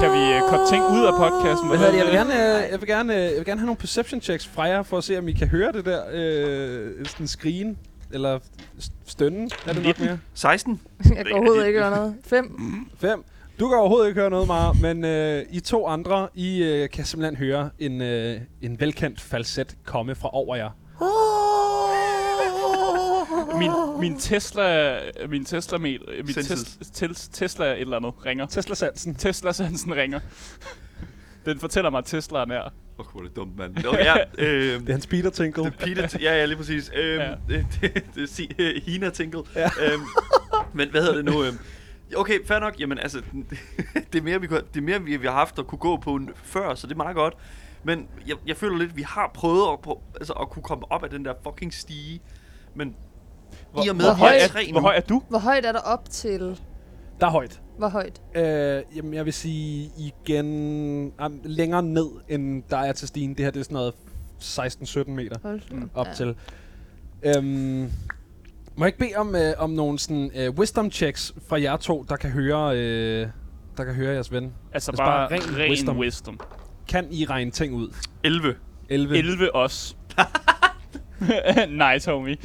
[SPEAKER 5] Kan vi øh, korte ting ud af podcasten?
[SPEAKER 2] Hvad hedder det? Jeg vil gerne, øh, jeg vil gerne, øh, jeg vil gerne have nogle perception checks fra jer, for at se, om I kan høre det der øh, sådan skrigen, eller st- stønnen, er det nok mere.
[SPEAKER 6] 16?
[SPEAKER 8] Jeg kan overhovedet ikke høre noget. Fem.
[SPEAKER 2] 5. Du kan overhovedet ikke høre noget, Mara, men øh, I to andre, I øh, kan simpelthen høre en, øh, en velkendt falset komme fra over jer.
[SPEAKER 5] Min, min Tesla... Min Tesla... øh, Min
[SPEAKER 6] Sindssygt.
[SPEAKER 5] tes, tes, Tesla et eller andet ringer.
[SPEAKER 2] Tesla Sansen.
[SPEAKER 5] Tesla Sansen ringer. Den fortæller mig, at Tesla er nær.
[SPEAKER 6] Åh, oh, hvor er det dumt, mand. Nå, ja, øh,
[SPEAKER 2] Det er hans Peter Tinkle.
[SPEAKER 6] Peter, ja, ja, lige præcis. Øhm,
[SPEAKER 5] Ja.
[SPEAKER 6] ja. det, det, det, si- øh, Hina Tinkle. Ja. Øhm, men hvad hedder det nu? Øhm, okay, fair nok. Jamen, altså, det er mere, vi, kunne, det er mere, vi, vi har haft at kunne gå på en, før, så det er meget godt. Men jeg, jeg føler lidt, at vi har prøvet at, på, altså, at kunne komme op af den der fucking stige. Men hvor, i og med,
[SPEAKER 8] hvor
[SPEAKER 6] at vi er
[SPEAKER 8] høj-
[SPEAKER 6] tre nu,
[SPEAKER 5] Hvor høj er du?
[SPEAKER 8] Hvor højt er der op til?
[SPEAKER 2] Der er højt.
[SPEAKER 8] Hvor højt?
[SPEAKER 2] Øh, jamen, jeg vil sige igen um, længere ned, end der er til stigen. Det her det er sådan noget 16-17 meter.
[SPEAKER 8] Hold da
[SPEAKER 2] op til. Øhm, må jeg ikke bede om, øh, om nogle sådan, øh, wisdom checks fra jer to, der kan høre, øh, der kan høre jeres ven?
[SPEAKER 5] Altså
[SPEAKER 2] Altså
[SPEAKER 5] bare,
[SPEAKER 2] bare
[SPEAKER 5] ren,
[SPEAKER 2] ren
[SPEAKER 5] ren
[SPEAKER 2] wisdom.
[SPEAKER 5] wisdom. wisdom.
[SPEAKER 2] Kan I regne ting ud?
[SPEAKER 6] 11.
[SPEAKER 2] 11.
[SPEAKER 5] 11 os. nice, homie.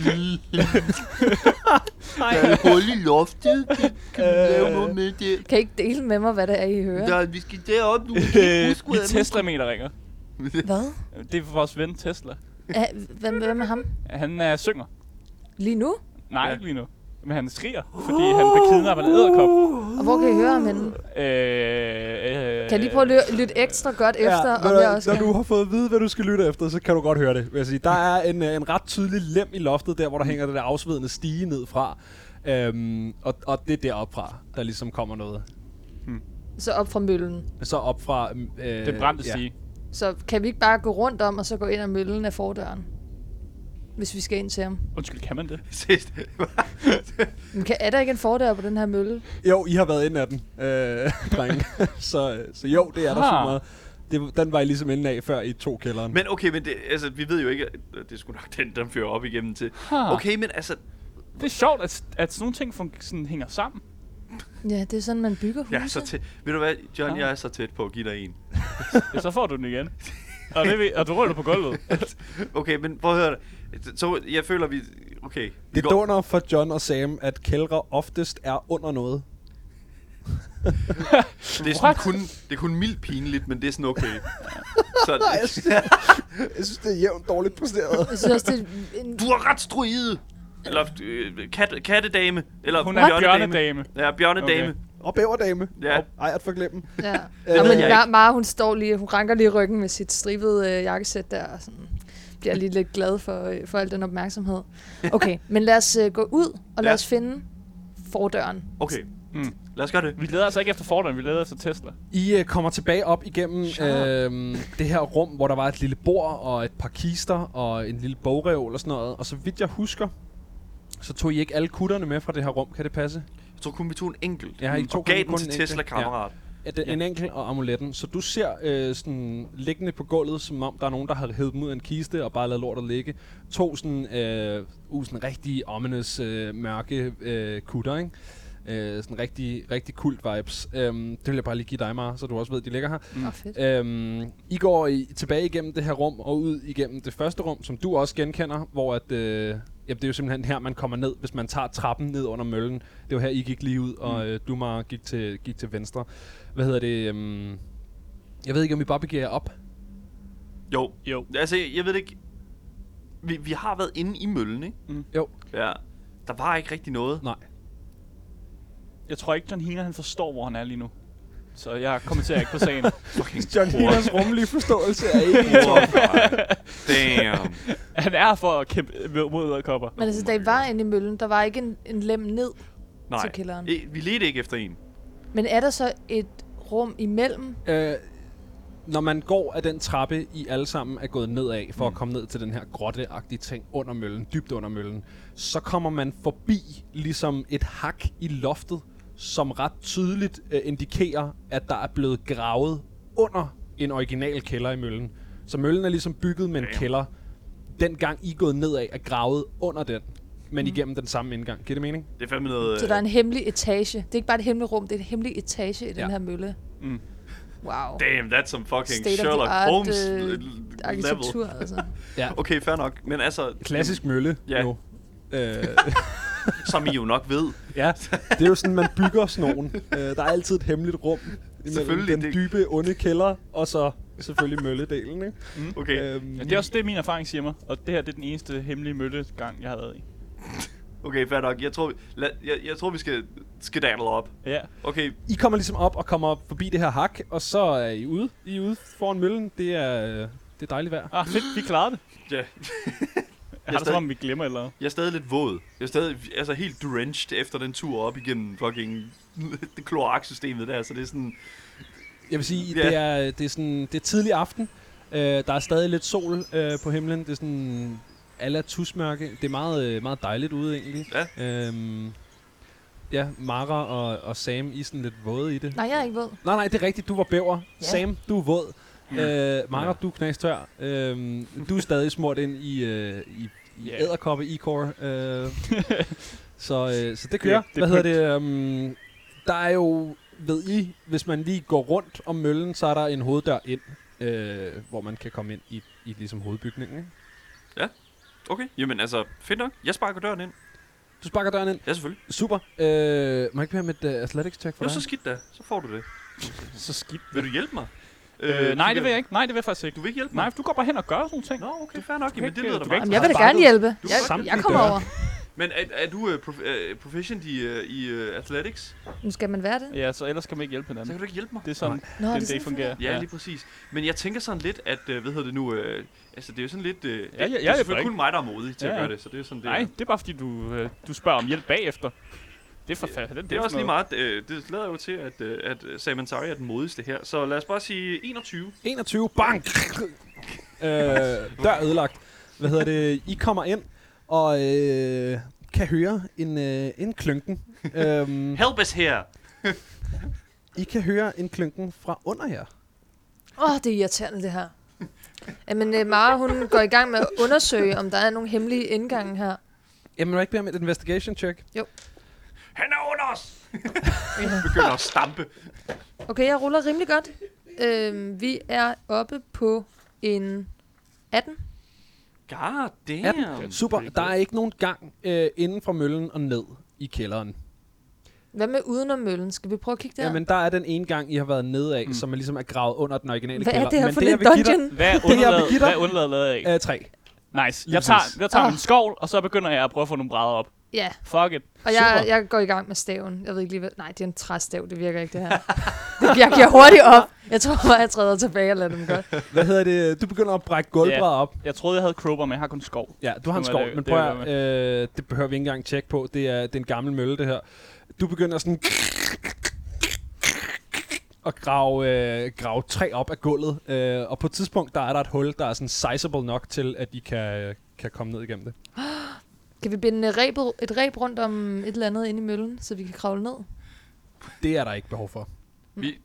[SPEAKER 6] Der er hul i loftet. Kan vi lave noget med det?
[SPEAKER 8] Kan I ikke dele med mig, hvad det er, I hører?
[SPEAKER 6] Der, vi skal derop nu.
[SPEAKER 5] Øh, min Tesla-meter ringer.
[SPEAKER 8] Hvad?
[SPEAKER 5] Det er vores ven Tesla.
[SPEAKER 8] Er, hvem, hvem er ham?
[SPEAKER 5] Han er synger.
[SPEAKER 8] Lige nu?
[SPEAKER 5] Nej, ikke lige nu. Men han skriger, fordi han blev kidnappet af en æderkop.
[SPEAKER 8] Og hvor kan I høre ham henne?
[SPEAKER 5] Øh, øh,
[SPEAKER 8] Kan jeg lige prøve at lø- lytte ekstra godt efter, ja, om jeg også
[SPEAKER 2] når
[SPEAKER 8] kan?
[SPEAKER 2] du har fået at vide, hvad du skal lytte efter, så kan du godt høre det. Vil jeg sige. Der er en, øh, en ret tydelig lem i loftet, der hvor der hænger det der afsvedende stige ned fra. Øhm, og, og det er deroppe fra, der ligesom kommer noget.
[SPEAKER 8] Så op fra møllen.
[SPEAKER 2] Så op fra... Øh,
[SPEAKER 5] Den brændte
[SPEAKER 2] ja.
[SPEAKER 5] stige.
[SPEAKER 8] Så kan vi ikke bare gå rundt om, og så gå ind ad møllen af fordøren? hvis vi skal ind til ham.
[SPEAKER 5] Undskyld, kan man det?
[SPEAKER 6] Sidst.
[SPEAKER 8] Men kan, er der ikke en fordør på den her mølle?
[SPEAKER 2] Jo, I har været inde af den, øh, drenge. så, øh, så jo, det er der så
[SPEAKER 5] Ah.
[SPEAKER 2] meget. Det, den var I ligesom inde af, før I tog kælderen.
[SPEAKER 6] men okay, men det, altså, vi ved jo ikke, at det er sgu nok den, der fører op igennem til.
[SPEAKER 5] Ha.
[SPEAKER 6] Okay, men altså,
[SPEAKER 5] Det er sjovt, at, at sådan nogle ting fun- sådan hænger sammen.
[SPEAKER 8] Ja, det er sådan, man bygger huse.
[SPEAKER 6] jeg er så tæt. Ved du hvad, John,
[SPEAKER 5] Ah.
[SPEAKER 6] jeg er så tæt på at give dig en.
[SPEAKER 5] Ja, så får du den igen. Og, det, ved- og du ruller på gulvet.
[SPEAKER 6] Okay, men prøv at høre det. Så jeg føler, vi... Okay. vi
[SPEAKER 2] Det
[SPEAKER 6] går-
[SPEAKER 2] dunder for John og Sam, at kældre oftest er under noget.
[SPEAKER 6] Det er, sådan
[SPEAKER 5] What?
[SPEAKER 6] kun, det er kun mildt pinligt, men det er sådan okay. Så,
[SPEAKER 2] Jeg synes, det er jævnt dårligt præsteret.
[SPEAKER 8] Jeg synes også, det er en
[SPEAKER 6] du er ret struide! Eller øh, kat, kattedame. Eller
[SPEAKER 5] Hun er bjørnedame.
[SPEAKER 6] Ja, bjørnedame.
[SPEAKER 5] Okay.
[SPEAKER 6] Okay.
[SPEAKER 2] og bæverdame.
[SPEAKER 6] Ja.
[SPEAKER 2] Ej, at forglemme.
[SPEAKER 8] Ja.
[SPEAKER 2] ved
[SPEAKER 8] Nå, men
[SPEAKER 6] jeg
[SPEAKER 8] Mar- Mara, hun står lige, hun ranker lige ryggen med sit stribede øh, jakkesæt der, og sådan bliver lige lidt glad for, øh, for al den opmærksomhed. Okay, men lad os øh, gå ud, og lad
[SPEAKER 6] Ja.
[SPEAKER 8] os finde fordøren.
[SPEAKER 6] Okay.
[SPEAKER 5] Mm.
[SPEAKER 6] Lad os gøre det.
[SPEAKER 5] Vi leder altså ikke efter Forderen, vi leder efter Tesla.
[SPEAKER 2] I øh, kommer tilbage op igennem øh, det her rum, hvor der var et lille bord og et par kister og en lille bogreol og sådan noget. Og så vidt jeg husker, så tog I ikke alle kutterne med fra det her rum. Kan det passe?
[SPEAKER 6] Jeg tror kun, vi tog en enkelt.
[SPEAKER 2] Ja, I tog
[SPEAKER 6] og gav
[SPEAKER 2] kun-
[SPEAKER 6] den
[SPEAKER 2] kun
[SPEAKER 6] til
[SPEAKER 2] en enkelt.
[SPEAKER 6] Tesla-kammerat. Ja.
[SPEAKER 2] Ja, det, en enkel og amuletten. Så du ser øh, sådan liggende på gulvet, som om der er nogen, der har hævet dem ud af en kiste og bare lavet lortet ligge. To sådan, øh, uh, sådan rigtig ominous, øh, mørke øh, kutter, ikke? Øh, sådan rigtig, rigtig kult vibes. Øhm, det vil jeg bare lige give dig, Mara, så du også ved, at de ligger her.
[SPEAKER 8] Åh, oh, fedt.
[SPEAKER 2] Øhm, I går i, tilbage igennem det her rum og ud igennem det første rum, som du også genkender, hvor at, øh, jamen, det er jo simpelthen her, man kommer ned, hvis man tager trappen ned under møllen. Det var her, I gik lige ud, og øh, du, Mara, gik til, gik til venstre. Hvad hedder det? Øhm, jeg ved ikke, om I bare begiver jer op.
[SPEAKER 6] Jo.
[SPEAKER 5] Jo.
[SPEAKER 6] Altså, jeg, jeg ved det ikke... Vi, vi har været inde i møllen, ikke?
[SPEAKER 2] Jo.
[SPEAKER 6] Ja. Der var ikke rigtig noget.
[SPEAKER 2] Nej.
[SPEAKER 5] Jeg tror ikke, John Hina han forstår, hvor han er lige nu. Så jeg kommenterer ikke på sagen.
[SPEAKER 6] Fucking
[SPEAKER 2] John Hinas rummelige forståelse er ikke...
[SPEAKER 6] Damn.
[SPEAKER 5] han er her for at kæmpe mod æderkopper.
[SPEAKER 8] Men altså, da I var inde i møllen, der var ikke en, en lem ned
[SPEAKER 6] Nej.
[SPEAKER 8] til kælderen.
[SPEAKER 6] E, vi ledte ikke efter en.
[SPEAKER 8] Men er der så et rum imellem?
[SPEAKER 2] øh, når man går af den trappe, I alle sammen er gået nedad, for mm. at komme ned til den her grotteagtige ting under møllen, dybt under møllen, så kommer man forbi ligesom et hak i loftet, som ret tydeligt øh, indikerer, at der er blevet gravet under en original kælder i møllen. Så møllen er ligesom bygget med en kælder. Dengang I er gået nedad, er gravet under den, men mm. igennem den samme indgang. Giver det mening?
[SPEAKER 6] Det er fandme noget... øh,
[SPEAKER 8] Så Altså, der er en hemmelig etage. Det er ikke bare et hemmeligt rum, det er en hemmelig etage i ja. den
[SPEAKER 2] Ja.
[SPEAKER 8] her mølle. Mm. Wow.
[SPEAKER 6] Damn, that's some fucking
[SPEAKER 8] State of
[SPEAKER 6] Sherlock
[SPEAKER 8] the art
[SPEAKER 6] Holmes
[SPEAKER 8] øh,
[SPEAKER 6] l- level.
[SPEAKER 8] arkitektur, altså.
[SPEAKER 6] Okay, fair nok. Men altså,
[SPEAKER 2] Klassisk mølle
[SPEAKER 6] Ja.
[SPEAKER 2] nu. Øh,
[SPEAKER 6] som I jo nok ved,
[SPEAKER 2] Ja, det er jo sådan, man bygger sådan nogen. Øh, der er altid et hemmeligt rum imellem
[SPEAKER 6] Selvfølgelig,
[SPEAKER 2] den
[SPEAKER 6] det-
[SPEAKER 2] dybe, onde kælder, og så selvfølgelig mølledelen, ikke?
[SPEAKER 6] Okay,
[SPEAKER 2] Øhm,
[SPEAKER 5] Ja, det er også det, min erfaring siger mig. Og det her det er den eneste hemmelige møllegang, jeg har været i.
[SPEAKER 6] okay, fair nok. Jeg tror, vi- lad, jeg, jeg tror vi skal skedaddle op.
[SPEAKER 5] Ja.
[SPEAKER 6] Okay,
[SPEAKER 2] I kommer ligesom op og kommer forbi det her hak, og så er I ude. I er ude foran møllen. Det er, øh, det er dejligt vejr.
[SPEAKER 5] Ah, fedt, vi klarede det.
[SPEAKER 6] ja.
[SPEAKER 5] Jeg har det
[SPEAKER 6] stadig-
[SPEAKER 5] som om, vi glemmer eller noget.
[SPEAKER 6] jeg er stadig lidt våd. Jeg er stadig altså, helt drenched efter den tur op igennem fucking det kloaksystemet der, så det er sådan...
[SPEAKER 2] Jeg vil sige,
[SPEAKER 6] Ja.
[SPEAKER 2] det, er, øh, det, er sådan, det er tidlig aften. Øh, der er stadig lidt sol øh, på himlen. Det er sådan alla tusmørke. Det er meget, øh, meget dejligt ude, egentlig.
[SPEAKER 6] Ja.
[SPEAKER 2] Øhm, ja, Mara og, og Sam, I er sådan lidt våde i det.
[SPEAKER 8] Nej, jeg er ikke ved.
[SPEAKER 2] Nej, nej, det er rigtigt. Du var bæver.
[SPEAKER 8] Ja.
[SPEAKER 2] Ja. Sam, du er våd. Øh, Mara, du er knastør. Øh, du er stadig smurt ind i, øh, i, i
[SPEAKER 5] Ja.
[SPEAKER 2] æderkoppe i core øh. så, øh, så det kører.
[SPEAKER 5] det er
[SPEAKER 2] Hvad hedder det? Um, der er jo, ved I, hvis man lige går rundt om møllen, så er der en hoveddør ind, øh, hvor man kan komme ind i, i ligesom hovedbygningen. ikke?
[SPEAKER 6] Okay, jamen altså, fedt nok. Jeg sparker døren ind.
[SPEAKER 2] Du sparker døren ind.
[SPEAKER 6] Ja, selvfølgelig.
[SPEAKER 2] Super. Øh, må jeg ikke være med et uh, athletics check for
[SPEAKER 6] Jo,
[SPEAKER 2] dig?
[SPEAKER 6] så skidt da. Så får du det.
[SPEAKER 5] Så skidt.
[SPEAKER 6] Vil du hjælpe mig?
[SPEAKER 5] Øh, nej, det vil jeg ikke. Nej, det vil jeg faktisk ikke.
[SPEAKER 6] Du vil ikke hjælpe mig?
[SPEAKER 5] Nej, for du går bare hen og gør sådan nogle ting.
[SPEAKER 6] Nå, okay, fair nok.
[SPEAKER 5] kan
[SPEAKER 6] Jamen,
[SPEAKER 5] ikke,
[SPEAKER 6] det lyder
[SPEAKER 5] øh,
[SPEAKER 6] da
[SPEAKER 5] du kan
[SPEAKER 6] meget.
[SPEAKER 5] ikke
[SPEAKER 8] Jamen, jeg vil da
[SPEAKER 5] sparket.
[SPEAKER 8] gerne hjælpe.
[SPEAKER 6] kan
[SPEAKER 8] Jeg,
[SPEAKER 2] samtlige
[SPEAKER 8] jeg kommer
[SPEAKER 2] døre.
[SPEAKER 8] over.
[SPEAKER 6] Men er, er du uh, prof- uh, proficient i, uh, i uh, athletics?
[SPEAKER 8] Nu skal man være det.
[SPEAKER 5] Ja, så ellers kan man ikke hjælpe
[SPEAKER 6] Så kan
[SPEAKER 5] hinanden.
[SPEAKER 6] du ikke hjælpe mig?
[SPEAKER 5] Det er sådan, den
[SPEAKER 8] Nå, det er
[SPEAKER 5] dag
[SPEAKER 8] sådan,
[SPEAKER 5] fungerer.
[SPEAKER 6] Ja, ja, lige præcis. Men jeg tænker sådan lidt, at, øh, hvad hedder det nu, øh, altså det er jo sådan lidt, øh,
[SPEAKER 5] ja,
[SPEAKER 6] det, det
[SPEAKER 5] jeg
[SPEAKER 6] er
[SPEAKER 5] er
[SPEAKER 6] selvfølgelig
[SPEAKER 5] ikke.
[SPEAKER 6] kun mig, der er modig til ja.
[SPEAKER 5] Ja,
[SPEAKER 6] at
[SPEAKER 5] ja.
[SPEAKER 6] gøre det, så det er jo sådan, det
[SPEAKER 5] Nej,
[SPEAKER 6] er.
[SPEAKER 5] det er bare fordi, du, øh, du spørger om hjælp bagefter. Det er for fanden.
[SPEAKER 6] Det er også lige meget, øh, det lader jo til, at, øh, at øh, Sam Ansari er den modigste her, så Mm. lad os bare sige 21.
[SPEAKER 2] 21, bang! øh, dør ødelagt. Hvad hedder det? I kommer ind og øh, kan høre en, øh, en klønken. øhm,
[SPEAKER 6] Help us here!
[SPEAKER 2] I kan høre en klønken fra under jer.
[SPEAKER 8] Åh, oh, det er irriterende, det her. Jamen, øh, Mara, hun går i gang med at undersøge, om der er nogle hemmelige indgange her.
[SPEAKER 2] Jamen, må jeg ikke bede om et investigation check?
[SPEAKER 6] Han er under os! Begynder at stampe.
[SPEAKER 8] Okay, jeg ruller rimelig godt. Øhm, vi er oppe på en 18.
[SPEAKER 6] God
[SPEAKER 2] damn.
[SPEAKER 6] damn.
[SPEAKER 2] Super. Der er ikke nogen gang øh, inden fra møllen og ned i kælderen.
[SPEAKER 8] Hvad med uden om møllen? Skal vi prøve at kigge der?
[SPEAKER 2] Ja. Jamen, der er den ene gang, I har været nede af, mm. som er ligesom er gravet under den originale
[SPEAKER 8] Hvad
[SPEAKER 2] kælder.
[SPEAKER 8] er det her
[SPEAKER 2] Men
[SPEAKER 8] for en
[SPEAKER 2] jeg vil give
[SPEAKER 8] dungeon?
[SPEAKER 5] Hvad er
[SPEAKER 2] Det her, vi
[SPEAKER 5] undladet,
[SPEAKER 2] giver dig.
[SPEAKER 5] hvad er undladet lavet af?
[SPEAKER 2] dig- Øh, tre.
[SPEAKER 5] Nice. Jeg tager,
[SPEAKER 2] præcis.
[SPEAKER 5] jeg tager
[SPEAKER 8] Ah.
[SPEAKER 5] en skovl, og så begynder jeg at prøve at få nogle brædder op.
[SPEAKER 8] Ja,
[SPEAKER 5] Fuck it.
[SPEAKER 8] og jeg, jeg går i gang med staven. Jeg ved ikke lige, hvad... Nej, det er en træstav, det virker ikke, det her. Det, jeg giver hurtigt op. Jeg tror bare, jeg træder tilbage og lader dem godt.
[SPEAKER 2] Hvad hedder det? Du begynder at brække gulvbrædder yeah. op.
[SPEAKER 5] Jeg troede, jeg havde Krober, men jeg har kun skov.
[SPEAKER 2] Ja, du har en
[SPEAKER 5] Det
[SPEAKER 2] skov,
[SPEAKER 5] var det-
[SPEAKER 2] men
[SPEAKER 5] det
[SPEAKER 2] prøv
[SPEAKER 5] var
[SPEAKER 2] at, øh, det behøver vi ikke engang tjekke på. Det er, det er en gammel mølle, det her. Du begynder sådan at grave, øh, grave træ op af gulvet, øh, og på et tidspunkt, der er der et hul, der er sådan sizable nok til, at I kan, kan komme ned igennem det.
[SPEAKER 8] Kan vi binde øh, rebet, et reb rundt om et eller andet inde i møllen, så vi kan kravle ned?
[SPEAKER 2] Det er der ikke behov for.
[SPEAKER 6] Vi, jeg